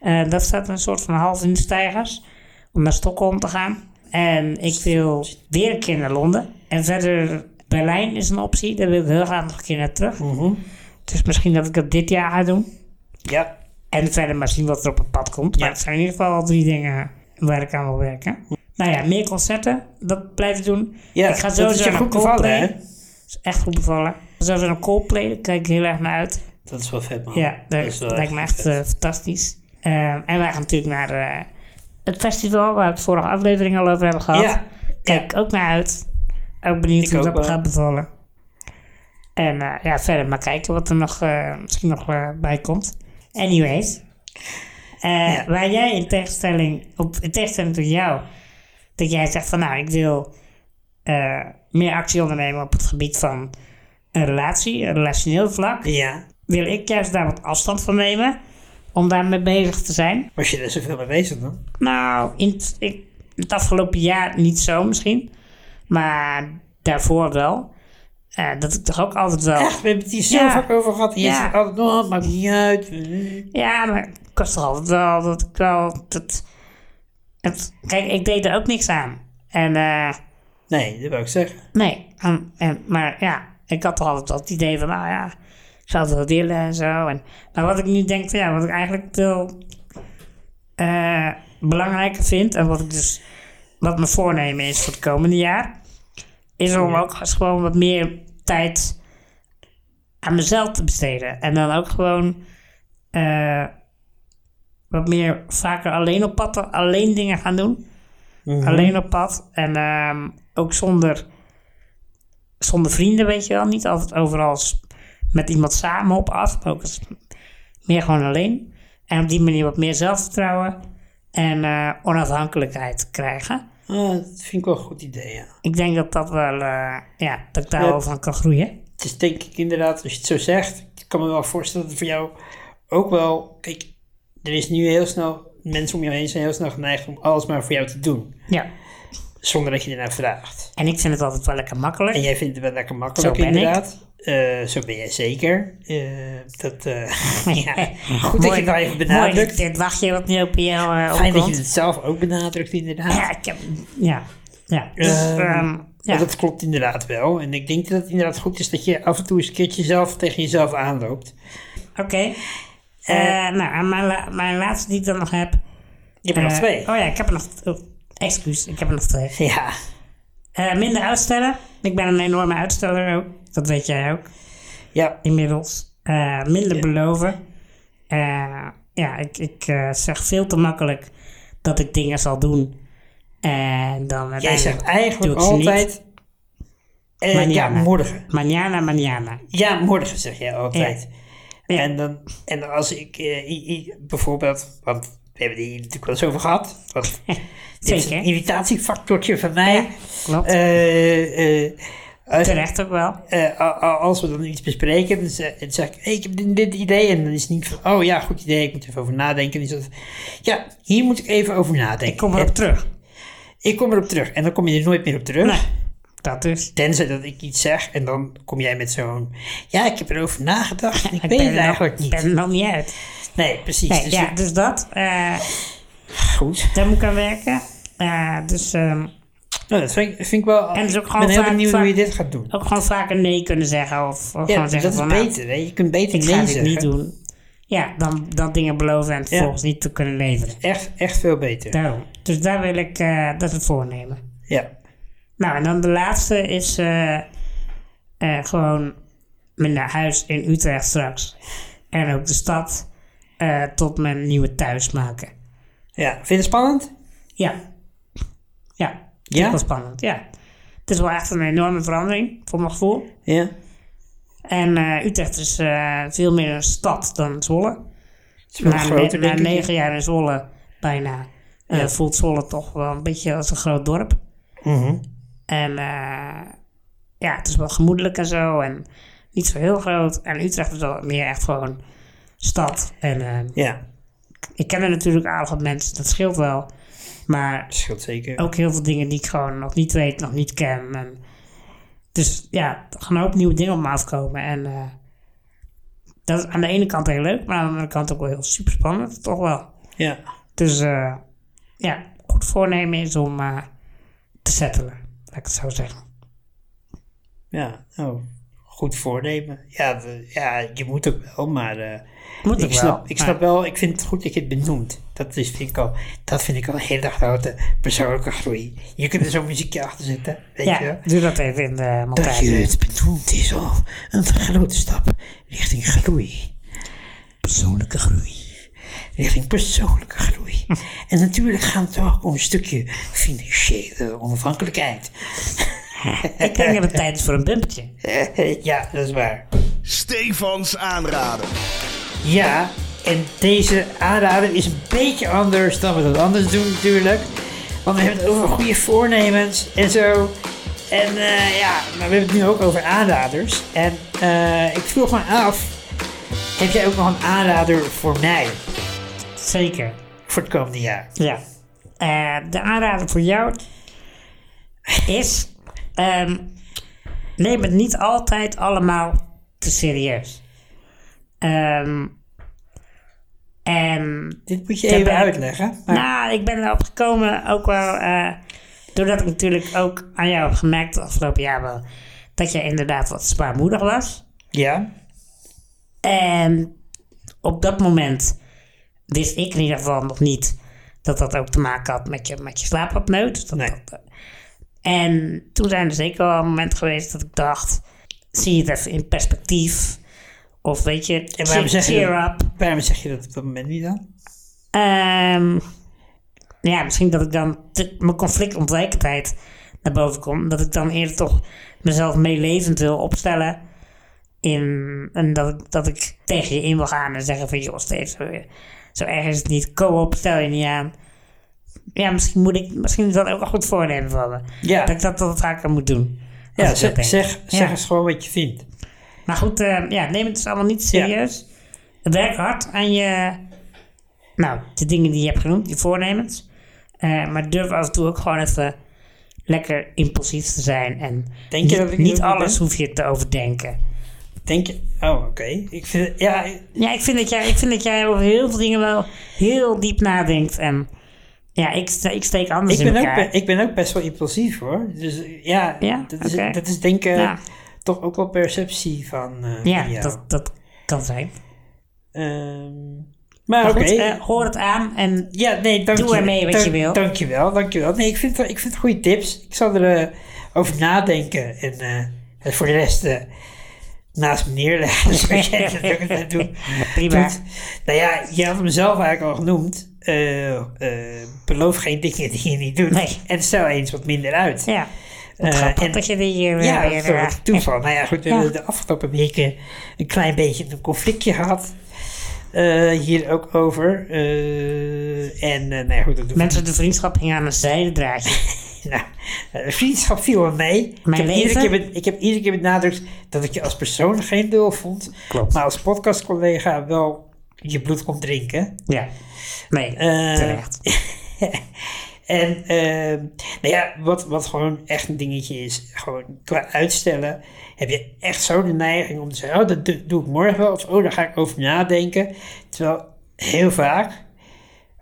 S1: Eh, dat staat een soort van half in de stijgers. Om naar Stockholm te gaan. En ik wil weer een keer naar Londen. En verder Berlijn is een optie. Daar wil ik heel graag nog een keer naar terug. Dus misschien dat ik dat dit jaar ga doen.
S2: Ja.
S1: En verder maar zien wat er op het pad komt. Maar het zijn in ieder geval al drie dingen waar ik aan wil werken. Nou ja, meer concerten. Dat blijven doen.
S2: ja.
S1: ik ga
S2: dat is
S1: sowieso
S2: je
S1: naar
S2: goed bevallen,
S1: Coldplay.
S2: hè?
S1: Dat is echt goed bevallen. Ik ga Sowieso naar Coldplay. Daar kijk ik heel erg naar uit.
S2: Dat is wel vet, man. Dus,
S1: Ja, dat,
S2: is wel
S1: lijkt me echt
S2: vet.
S1: eh, fantastisch. Ehm, en wij gaan natuurlijk naar eh, het festival waar we het vorige aflevering al over hebben gehad.
S2: Ja.
S1: Kijk ook naar uit. Ook benieuwd
S2: Ik
S1: hoe
S2: ook
S1: dat me
S2: wel.
S1: gaat bevallen. En eh, ja, verder maar kijken wat er nog, eh, misschien nog eh, bij komt. Anyways. Eh,
S2: Ja.
S1: Waar jij in tegenstelling, op, in tegenstelling tot jou, dat jij zegt van nou, ik wil eh, meer actie ondernemen op het gebied van een relatie, een relationeel vlak
S2: Ja.
S1: wil ik juist daar wat afstand van nemen. Om daarmee bezig te zijn.
S2: Was je er zoveel mee bezig dan?
S1: Nou, in het, ik, het afgelopen jaar niet zo misschien. Maar daarvoor wel. Ja, dat ik toch ook altijd wel.
S2: Echt, we hebben het hier zo
S1: Ja.
S2: vaak over gehad. En je
S1: Ja.
S2: zegt altijd, oh, maakt niet uit.
S1: Ja, maar ik was toch altijd wel dat ik wel. Dat, het, kijk, ik deed er ook niks aan. En eh,
S2: Nee, dat wil ik zeggen.
S1: nee, en, en- maar ja, ik had toch altijd wel het idee van, nou ja, ik zal het wel willen en zo. En, maar wat ik nu denk, van, ja, wat ik eigenlijk veel eh, belangrijker vind en wat ik dus, wat mijn voornemen is voor het komende jaar, is om ook eens gewoon wat meer tijd aan mezelf te besteden. En dan ook gewoon eh, wat meer vaker alleen op pad, alleen dingen gaan doen. Alleen op pad. En ehm, ook zonder, zonder vrienden, weet je wel. Niet altijd overal s- met iemand samen op af, maar ook eens meer gewoon alleen. En op die manier wat meer zelfvertrouwen en eh, onafhankelijkheid krijgen.
S2: Ah, dat vind ik wel een goed idee, ja.
S1: Ik denk dat dat wel, eh, ja, dat ik daar wel van kan groeien.
S2: Het is denk ik inderdaad, als je het zo zegt, ik kan me wel voorstellen dat het voor jou ook wel, kijk, er is nu heel snel, mensen om je heen zijn heel snel geneigd om alles maar voor jou te doen,
S1: Ja.
S2: zonder dat je ernaar vraagt.
S1: En ik vind het altijd wel lekker makkelijk.
S2: En jij vindt het wel lekker makkelijk,
S1: Zo ben ik.
S2: inderdaad. Eh, zo ben jij zeker. Eh, dat, eh, ja, goed dat je het
S1: Mooi-
S2: nou even
S1: Mooi,
S2: benadrukt.
S1: dit- dit wachtje wat nu op jou eh,
S2: Fijn dat je
S1: opkomt.
S2: het zelf ook benadrukt, inderdaad.
S1: Ja, ik heb, ja, ja. Dus,
S2: Ehm,
S1: ehm, ja.
S2: Ja. Dat klopt inderdaad wel. En ik denk dat het inderdaad goed is dat je af en toe eens een keertje zelf tegen jezelf aanloopt.
S1: Oké. Eh, nou, en mijn, la- mijn laatste die ik dan nog heb.
S2: Je hebt er nog
S1: eh,
S2: twee.
S1: Oh ja, ik heb er nog... oh, excuus, ik heb er nog twee.
S2: Ja,
S1: Eh, minder uitstellen. Ik ben een enorme uitsteller ook. Dat weet jij ook
S2: ja.
S1: inmiddels. Eh, minder beloven. Eh, ja, ik, ik eh, zeg veel te makkelijk dat ik dingen zal doen. En dan
S2: Jij
S1: uiteindelijk
S2: zegt
S1: doe
S2: eigenlijk
S1: ik ze niet.
S2: altijd. eh, ja,
S1: Manana.
S2: morgen.
S1: Manana, manana.
S2: Ja, morgen zeg jij altijd.
S1: Ja.
S2: En, dan, en als ik eh, i- i- bijvoorbeeld, want we hebben die natuurlijk wel eens over gehad. Want dit is
S1: Zeker.
S2: een irritatiefactortje van mij.
S1: Klopt.
S2: Eh, eh, als,
S1: Terecht ook wel.
S2: eh, a- a- als we dan iets bespreken, dan zeg, dan zeg ik, hey, ik heb dit, dit idee. En dan is het niet van, oh ja, goed idee, ik moet even over nadenken. Dan is dat, ja, hier moet ik even over nadenken.
S1: Ik kom erop terug.
S2: Ik kom erop terug. En dan kom je er nooit meer op terug.
S1: Nee, dat dus.
S2: Tenzij dat ik iets zeg en dan kom jij met zo'n... Ja, ik heb erover nagedacht. en Ik,
S1: Ik
S2: weet
S1: ben
S2: het
S1: er
S2: eigenlijk
S1: nog,
S2: niet.
S1: ben er nog niet uit.
S2: Nee, precies.
S1: Nee,
S2: dus
S1: ja,
S2: dat-
S1: dus dat. eh,
S2: goed.
S1: daar moet ik aan werken. Eh, dus ehm,
S2: Nou, dat vind ik, vind ik wel...
S1: En het is ook
S2: ik
S1: gewoon
S2: ben heel
S1: vaak-
S2: benieuwd
S1: vaak-
S2: hoe je dit gaat doen.
S1: ook gewoon vaker nee kunnen zeggen. Of, of
S2: Ja, dus
S1: gewoon
S2: dat
S1: zeggen
S2: is
S1: van, nou,
S2: beter. hè. Je kunt beter
S1: ik
S2: nee
S1: ga dit
S2: zeggen.
S1: niet doen. Ja, dan, dan dingen beloven en het vervolgens niet te kunnen leveren.
S2: Echt, echt veel beter.
S1: Daarom. Dus daar wil ik eh, dat het voornemen.
S2: Ja.
S1: Nou, en dan de laatste is eh, eh, gewoon mijn huis in Utrecht straks. En ook de stad eh, tot mijn nieuwe thuis maken.
S2: ja. Vind je het spannend?
S1: Ja. Ja.
S2: Ja?
S1: Ja? Dat is wel spannend, ja. Het is wel echt een enorme verandering, voor mijn gevoel.
S2: Ja.
S1: En eh, Utrecht is eh, veel meer een stad dan Zwolle.
S2: Het is wel
S1: Na,
S2: groter,
S1: ne- na
S2: denk ik.
S1: negen jaar in Zwolle, bijna, eh, voelt Zwolle toch wel een beetje als een groot dorp.
S2: Mhm.
S1: En eh, ja, het is wel gemoedelijk en zo. En niet zo heel groot. En Utrecht is wel meer echt gewoon stad. En eh,
S2: Ja,
S1: ik ken er natuurlijk aardig wat mensen, dat scheelt wel. Maar
S2: dat scheelt zeker.
S1: ook heel veel dingen die ik gewoon nog niet weet, nog niet ken. En dus ja, er gaan een hoop nieuwe dingen op me afkomen. En eh, dat is aan de ene kant heel leuk, maar aan de andere kant ook wel heel super spannend, toch wel.
S2: Ja.
S1: Dus eh, ja, goed voornemen is om eh, te settelen, laat ik het zo zeggen.
S2: Ja. Nou, goed voornemen. Ja, we- ja, je moet ook wel, maar... eh,
S1: Moet
S2: ik
S1: ook
S2: snap,
S1: wel,
S2: ik
S1: maar-
S2: snap wel, ik vind het goed dat je het benoemt. Dat, is, vind, ik al, dat vind ik al een hele grote persoonlijke groei. Je kunt er zo'n muziekje achter zetten, weet je
S1: Ja,
S2: wel.
S1: doe dat even in de
S2: Dat je
S1: montage.
S2: het benoemt is al een grote stap richting groei. Persoonlijke groei. Richting persoonlijke groei. en natuurlijk gaat het ook om een stukje financiële onafhankelijkheid.
S1: Ik denk dat het tijd is voor een bumpetje.
S2: ja, dat is waar.
S4: Stefans aanraden.
S2: Ja, en deze aanrader is een beetje anders dan we dat anders doen natuurlijk. Want we hebben het over goede voornemens en zo. En eh, ja, maar we hebben het nu ook over aanraders. En eh, ik vroeg me af, heb jij ook nog een aanrader voor mij
S1: Zeker.
S2: voor het komende jaar?
S1: Ja. Eh, de aanrader voor jou is ehm, neem het niet altijd allemaal te serieus. Ehm, en
S2: Dit moet je
S1: Ter
S2: even
S1: werk.
S2: uitleggen. Maar
S1: nou, ik ben erop gekomen ook wel eh, doordat ik natuurlijk ook aan jou heb gemerkt het afgelopen jaar wel dat je inderdaad wat zwaarmoedig was.
S2: ja,
S1: En op dat moment wist ik in ieder geval nog niet dat dat ook te maken had met je, met je slaapapneu. Dus dat-
S2: Nee.
S1: dat, eh. en toen zijn er zeker wel momenten geweest dat ik dacht, zie je het even in perspectief? Of weet je,
S2: waarom
S1: cheer,
S2: zeg je
S1: cheer up.
S2: waarom zeg je dat op dat moment niet dan?
S1: Ehm, ja, misschien dat ik dan te- mijn conflictontwijkendheid naar boven kom. Dat ik dan eerder toch mezelf meelevend wil opstellen. In, en dat ik, dat ik tegen je in wil gaan en zeggen van... joh, steeds zo, zo erg is het niet. Co-op, stel je niet aan. Ja, misschien, moet ik, misschien is dat ook een goed voornemen van me.
S2: Ja,
S1: Dat ik dat wat vaker moet doen. Als
S2: ja
S1: ik dat
S2: zeg,
S1: denk.
S2: zeg, zeg
S1: Ja.
S2: eens gewoon wat je vindt.
S1: Maar goed, eh, ja, neem het dus allemaal niet serieus. Werk hard aan je, nou, de dingen die je hebt genoemd, je voornemens. Eh, maar durf af en toe ook gewoon even lekker impulsief te zijn. En
S2: Denk je
S1: niet,
S2: dat ik
S1: niet
S2: dat
S1: alles
S2: ben?
S1: hoef je te overdenken.
S2: Denk je, oh oké, ik vind het, ja,
S1: Ja, ik vind, dat jij, ik vind dat jij over heel veel dingen wel heel diep nadenkt. En ja, ik, ste- ik steek anders
S2: ik
S1: in
S2: ben, ook,
S1: elkaar.
S2: be- ik ben ook best wel impulsief hoor. Dus eh, ja,
S1: Ja,
S2: dat, is,
S1: oké.
S2: dat is denk ik
S1: Ja.
S2: toch ook wel perceptie van eh
S1: Nou, ja,
S2: van jou.
S1: dat, dat kan zijn.
S2: Ehm, maar
S1: Maar
S2: oké.
S1: goed, eh, hoor het aan en
S2: ja, nee, dank
S1: doe
S2: je,
S1: ermee wat
S2: dank-
S1: je wil.
S2: Dankjewel, dankjewel. Nee, ik vind, het- ik vind het goede tips. Ik zal er eh, over nadenken en eh, het voor de rest eh, naast me neerleggen. zoals jij dat ook altijd doet.
S1: prima.
S2: Doet. Nou ja, je had hem zelf eigenlijk al genoemd. Eh, eh, beloof geen dingen die je niet doet.
S1: Nee.
S2: En stel eens wat minder uit.
S1: Ja, wat
S2: Eh,
S1: grappig
S2: en-
S1: dat je die hier weer...
S2: Ja,
S1: weer-
S2: dat is een toeval. Nou ja, goed, we
S1: Ja.
S2: hebben de afgelopen weken een klein beetje een conflictje gehad. eh, hier ook over. Eh, en eh, nou ja, goed, dat doen we.
S1: Mensen, de vriendschap ging aan een zijdendraadje.
S2: Nou, eh, vriendschap viel wel mee. Ik
S1: Mijn
S2: heb, iedere
S1: leven?
S2: keer, ben- ik heb iedere keer benadrukt dat ik je als persoon geen lul vond.
S1: Klopt.
S2: Maar als podcastcollega wel je bloed kon drinken.
S1: ja. Nee,
S2: Eh,
S1: terecht.
S2: En ehm, nou ja, wat, wat gewoon echt een dingetje is, gewoon qua uitstellen, heb je echt zo de neiging om te zeggen, oh dat doe, doe ik morgen wel, of oh daar ga ik over nadenken. Terwijl heel vaak,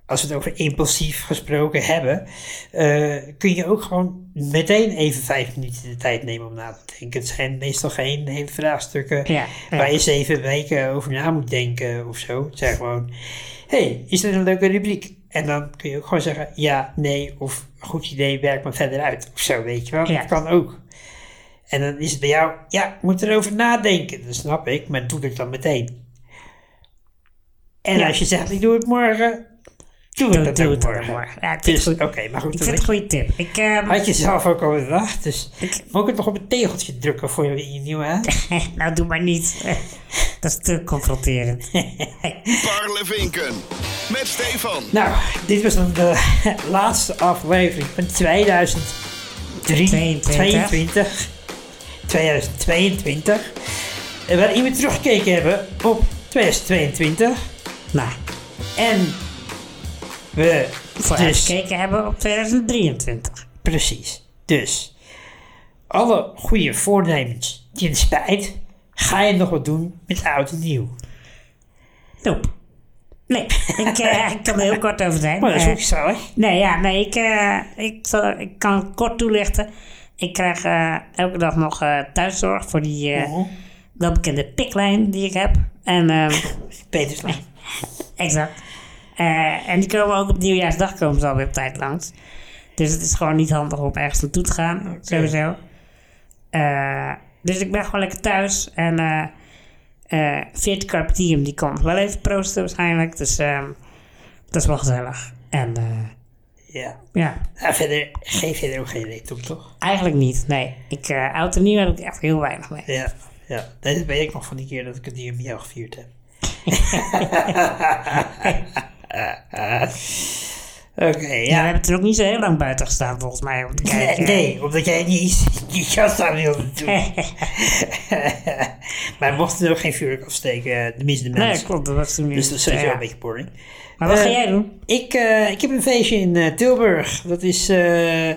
S2: als we het over impulsief gesproken hebben, eh, kun je ook gewoon meteen even vijf minuten de tijd nemen om na te denken. Het zijn meestal geen hele vraagstukken
S1: Ja, ja.
S2: waar je zeven weken over na moet denken of zo. Het zijn gewoon, hey, is dit een leuke rubriek? En dan kun je ook gewoon zeggen, ja, nee, of goed idee, werk maar verder uit. Of zo, weet je wel.
S1: Ja.
S2: Dat kan ook. En dan is het bij jou, ja, ik moet erover nadenken. Dat snap ik, maar doe het dan meteen. En
S1: Ja.
S2: als je zegt, ik doe het morgen, doe,
S1: Doe,
S2: het
S1: doe
S2: dan ook
S1: het dan
S2: morgen.
S1: morgen. Ja, ik vind
S2: Dus,
S1: het
S2: oké,
S1: goed.
S2: maar goed.
S1: Ik
S2: dan
S1: vind het een goede tip. Ik, ehm,
S2: Had je zelf ook al bedacht, dus
S1: Ik-
S2: moet ik het nog op een tegeltje drukken voor je in je nieuwe aan?
S1: nou, doe maar niet. Dat is te confronterend.
S4: Parlevinken. Met Stefan.
S2: Nou, dit was dan de laatste aflevering van 2023. 2022. En waarin we teruggekeken hebben op 2022.
S1: nou,
S2: En we dus
S1: vooruitgekeken hebben op 2023.
S2: Precies. Dus, alle goede voornemens die je spijt, ga je nog wat doen met oud en nieuw.
S1: Nope. Nee, ik, eh, ik kan er heel kort over zijn.
S2: Maar Oh, dat is
S1: Eh,
S2: ook zo, hè?
S1: Nee, ja, nee, ik, eh, ik, zal, ik kan het kort toelichten. Ik krijg eh, elke dag nog eh, thuiszorg voor die eh,
S2: Oh,
S1: welbekende piklijn die ik heb. En ehm,
S2: Peterslaan.
S1: Exact. Eh, en die komen ook op nieuwjaarsdag komen ze alweer op tijd langs. Dus het is gewoon niet handig om ergens naartoe te gaan, sowieso. Eh, dus ik ben gewoon lekker thuis. En eh eh Veert Carpe Diem, die komt wel even proosten waarschijnlijk. Dus ehm, dat is wel gezellig. En eh,
S2: Ja.
S1: ja,
S2: Nou, verder geef je er ook geen reet op, toch?
S1: eigenlijk niet. Nee, ik, eh oud en nieuw heb ik echt heel weinig mee.
S2: Ja. Ja, dat weet ik nog van die keer dat ik het hier met jou gevierd heb. Oké,
S1: Ja, we
S2: ja.
S1: hebben er ook niet zo heel lang buiten gestaan volgens mij om te
S2: Nee,
S1: kijken.
S2: nee, omdat jij niet eens je jas aan wilde doen. maar we mochten er ook geen vuurwerk afsteken, eh, tenminste de
S1: Nee,
S2: mensen.
S1: klopt, dat was toen niet.
S2: Dus dat is sowieso
S1: Ja.
S2: een beetje boring.
S1: Maar wat
S2: Eh,
S1: ga jij doen?
S2: Ik, eh, ik heb een feestje in eh, Tilburg. Dat is eh,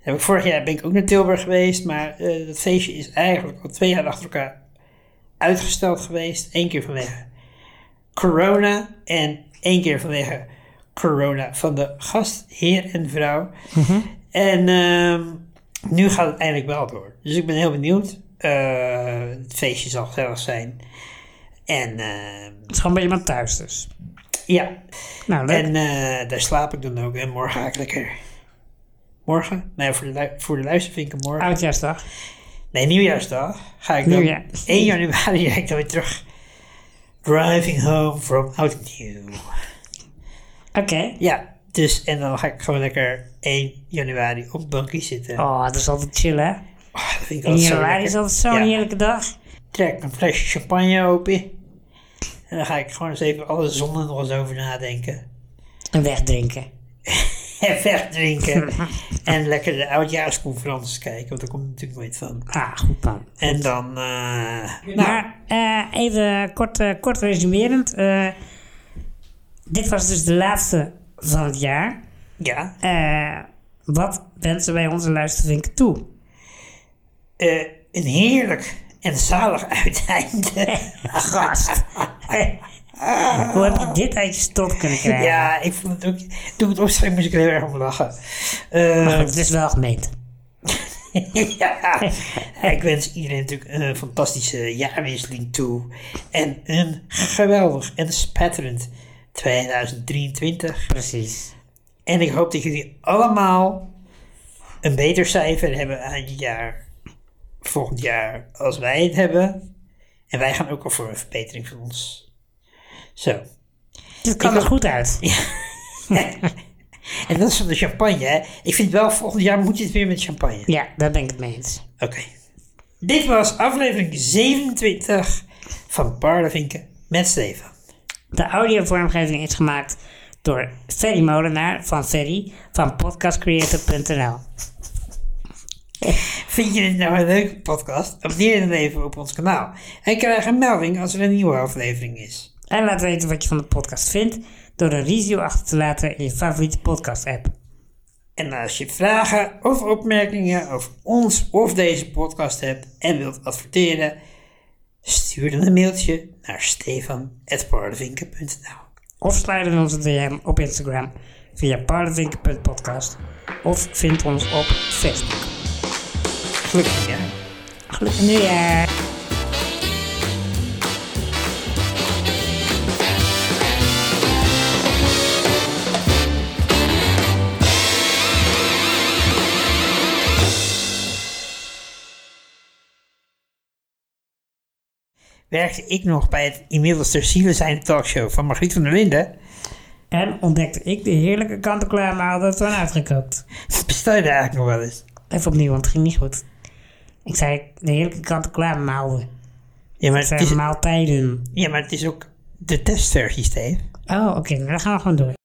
S2: Heb ik vorig jaar ben ik ook naar Tilburg geweest, maar eh dat feestje is eigenlijk al twee jaar achter elkaar uitgesteld geweest. Eén keer vanwege corona en één keer vanwege corona van de gastheer en vrouw.
S1: Mhm.
S2: En ehm, nu gaat het eindelijk wel door. Dus ik ben heel benieuwd. Eh, het feestje zal gezellig zijn. En ehm,
S1: Het is gewoon bij iemand thuis dus.
S2: ja,
S1: Nou, leuk.
S2: en eh, daar slaap ik dan ook. En morgen ga ik lekker. Morgen? Nee, voor de, lu- voor de luistervinken morgen.
S1: Ah. Oudjaarsdag.
S2: Nee, nieuwjaarsdag. Ga ik dan
S1: Nieuwjaar.
S2: 1 januari ga ik dan weer terug. Driving home from out
S1: Oké.
S2: Ja, dus en dan ga ik gewoon lekker 1 januari op het bankje zitten.
S1: Oh, dat is altijd chill, hè?
S2: Oh, dat vind
S1: In
S2: ik altijd zo
S1: januari
S2: lekker.
S1: is altijd zo'n
S2: Ja.
S1: heerlijke dag.
S2: Trek een flesje champagne open. En dan ga ik gewoon eens even alle zonnen nog eens over nadenken.
S1: En wegdrinken.
S2: En wegdrinken. en lekker de oudjaarsconferenties kijken, want daar komt natuurlijk nooit van.
S1: Ah, goed dan.
S2: En dan, eh, nou,
S1: Maar eh, even kort, eh, kort resumerend. eh, dit was dus de laatste van het jaar.
S2: ja.
S1: Eh, wat wensen wij onze luistervinken toe?
S2: Eh, een heerlijk en zalig uiteinde.
S1: Gast. Hoe heb je dit uit je strot kunnen krijgen?
S2: ja, ik vond het ook, toen ik het opschreef moest ik er heel erg om lachen. Eh,
S1: Het is wel gemeend.
S2: ja, ik wens iedereen natuurlijk een fantastische jaarwisseling toe. En een geweldig en spetterend 2023.
S1: Precies.
S2: En ik hoop dat jullie allemaal een beter cijfer hebben aan je jaar volgend jaar als wij het hebben. En wij gaan ook al voor een verbetering van ons. Zo.
S1: Dit kan
S2: Ik
S1: er
S2: ook.
S1: goed uit.
S2: En dat is van de champagne, hè? Ik vind wel, volgend jaar moet je het weer met champagne.
S1: Ja, daar ben ik het mee eens.
S2: Oké. Dit was aflevering 27 van Paardenvinken met Steven.
S1: De audiovormgeving is gemaakt door Ferry Molenaar van Ferry van podcastcreator.nl.
S2: Vind je dit nou een leuke podcast? Abonneer dan even op ons kanaal. En krijg een melding als er een nieuwe aflevering is.
S1: En laat weten wat je van de podcast vindt door een review achter te laten in je favoriete podcast app.
S2: En als je vragen of opmerkingen over ons of deze podcast hebt en wilt adverteren, stuur dan een mailtje naar stefan.paardenvinken.nl
S1: Of sluit in onze DM op Instagram via paardenvinken.podcast of vind ons op Facebook.
S2: Gelukkig ja.
S1: Gelukkig nieuwjaar!
S2: werkte ik nog bij het inmiddels ter ziele zijnde talkshow van Margriet van der Linden.
S1: En ontdekte ik de heerlijke kant-en-klaar maal dat we hadden uitgekookt.
S2: Bestel je daar eigenlijk nog wel eens?
S1: Even opnieuw, want het ging niet goed. Ik zei de heerlijke kant-en-klaar maalden.
S2: Ja, maar
S1: Het
S2: het
S1: zijn
S2: is,
S1: maaltijden.
S2: ja, maar het is ook de testversie, Steve.
S1: Oh, oké, nou, dan gaan we gewoon door.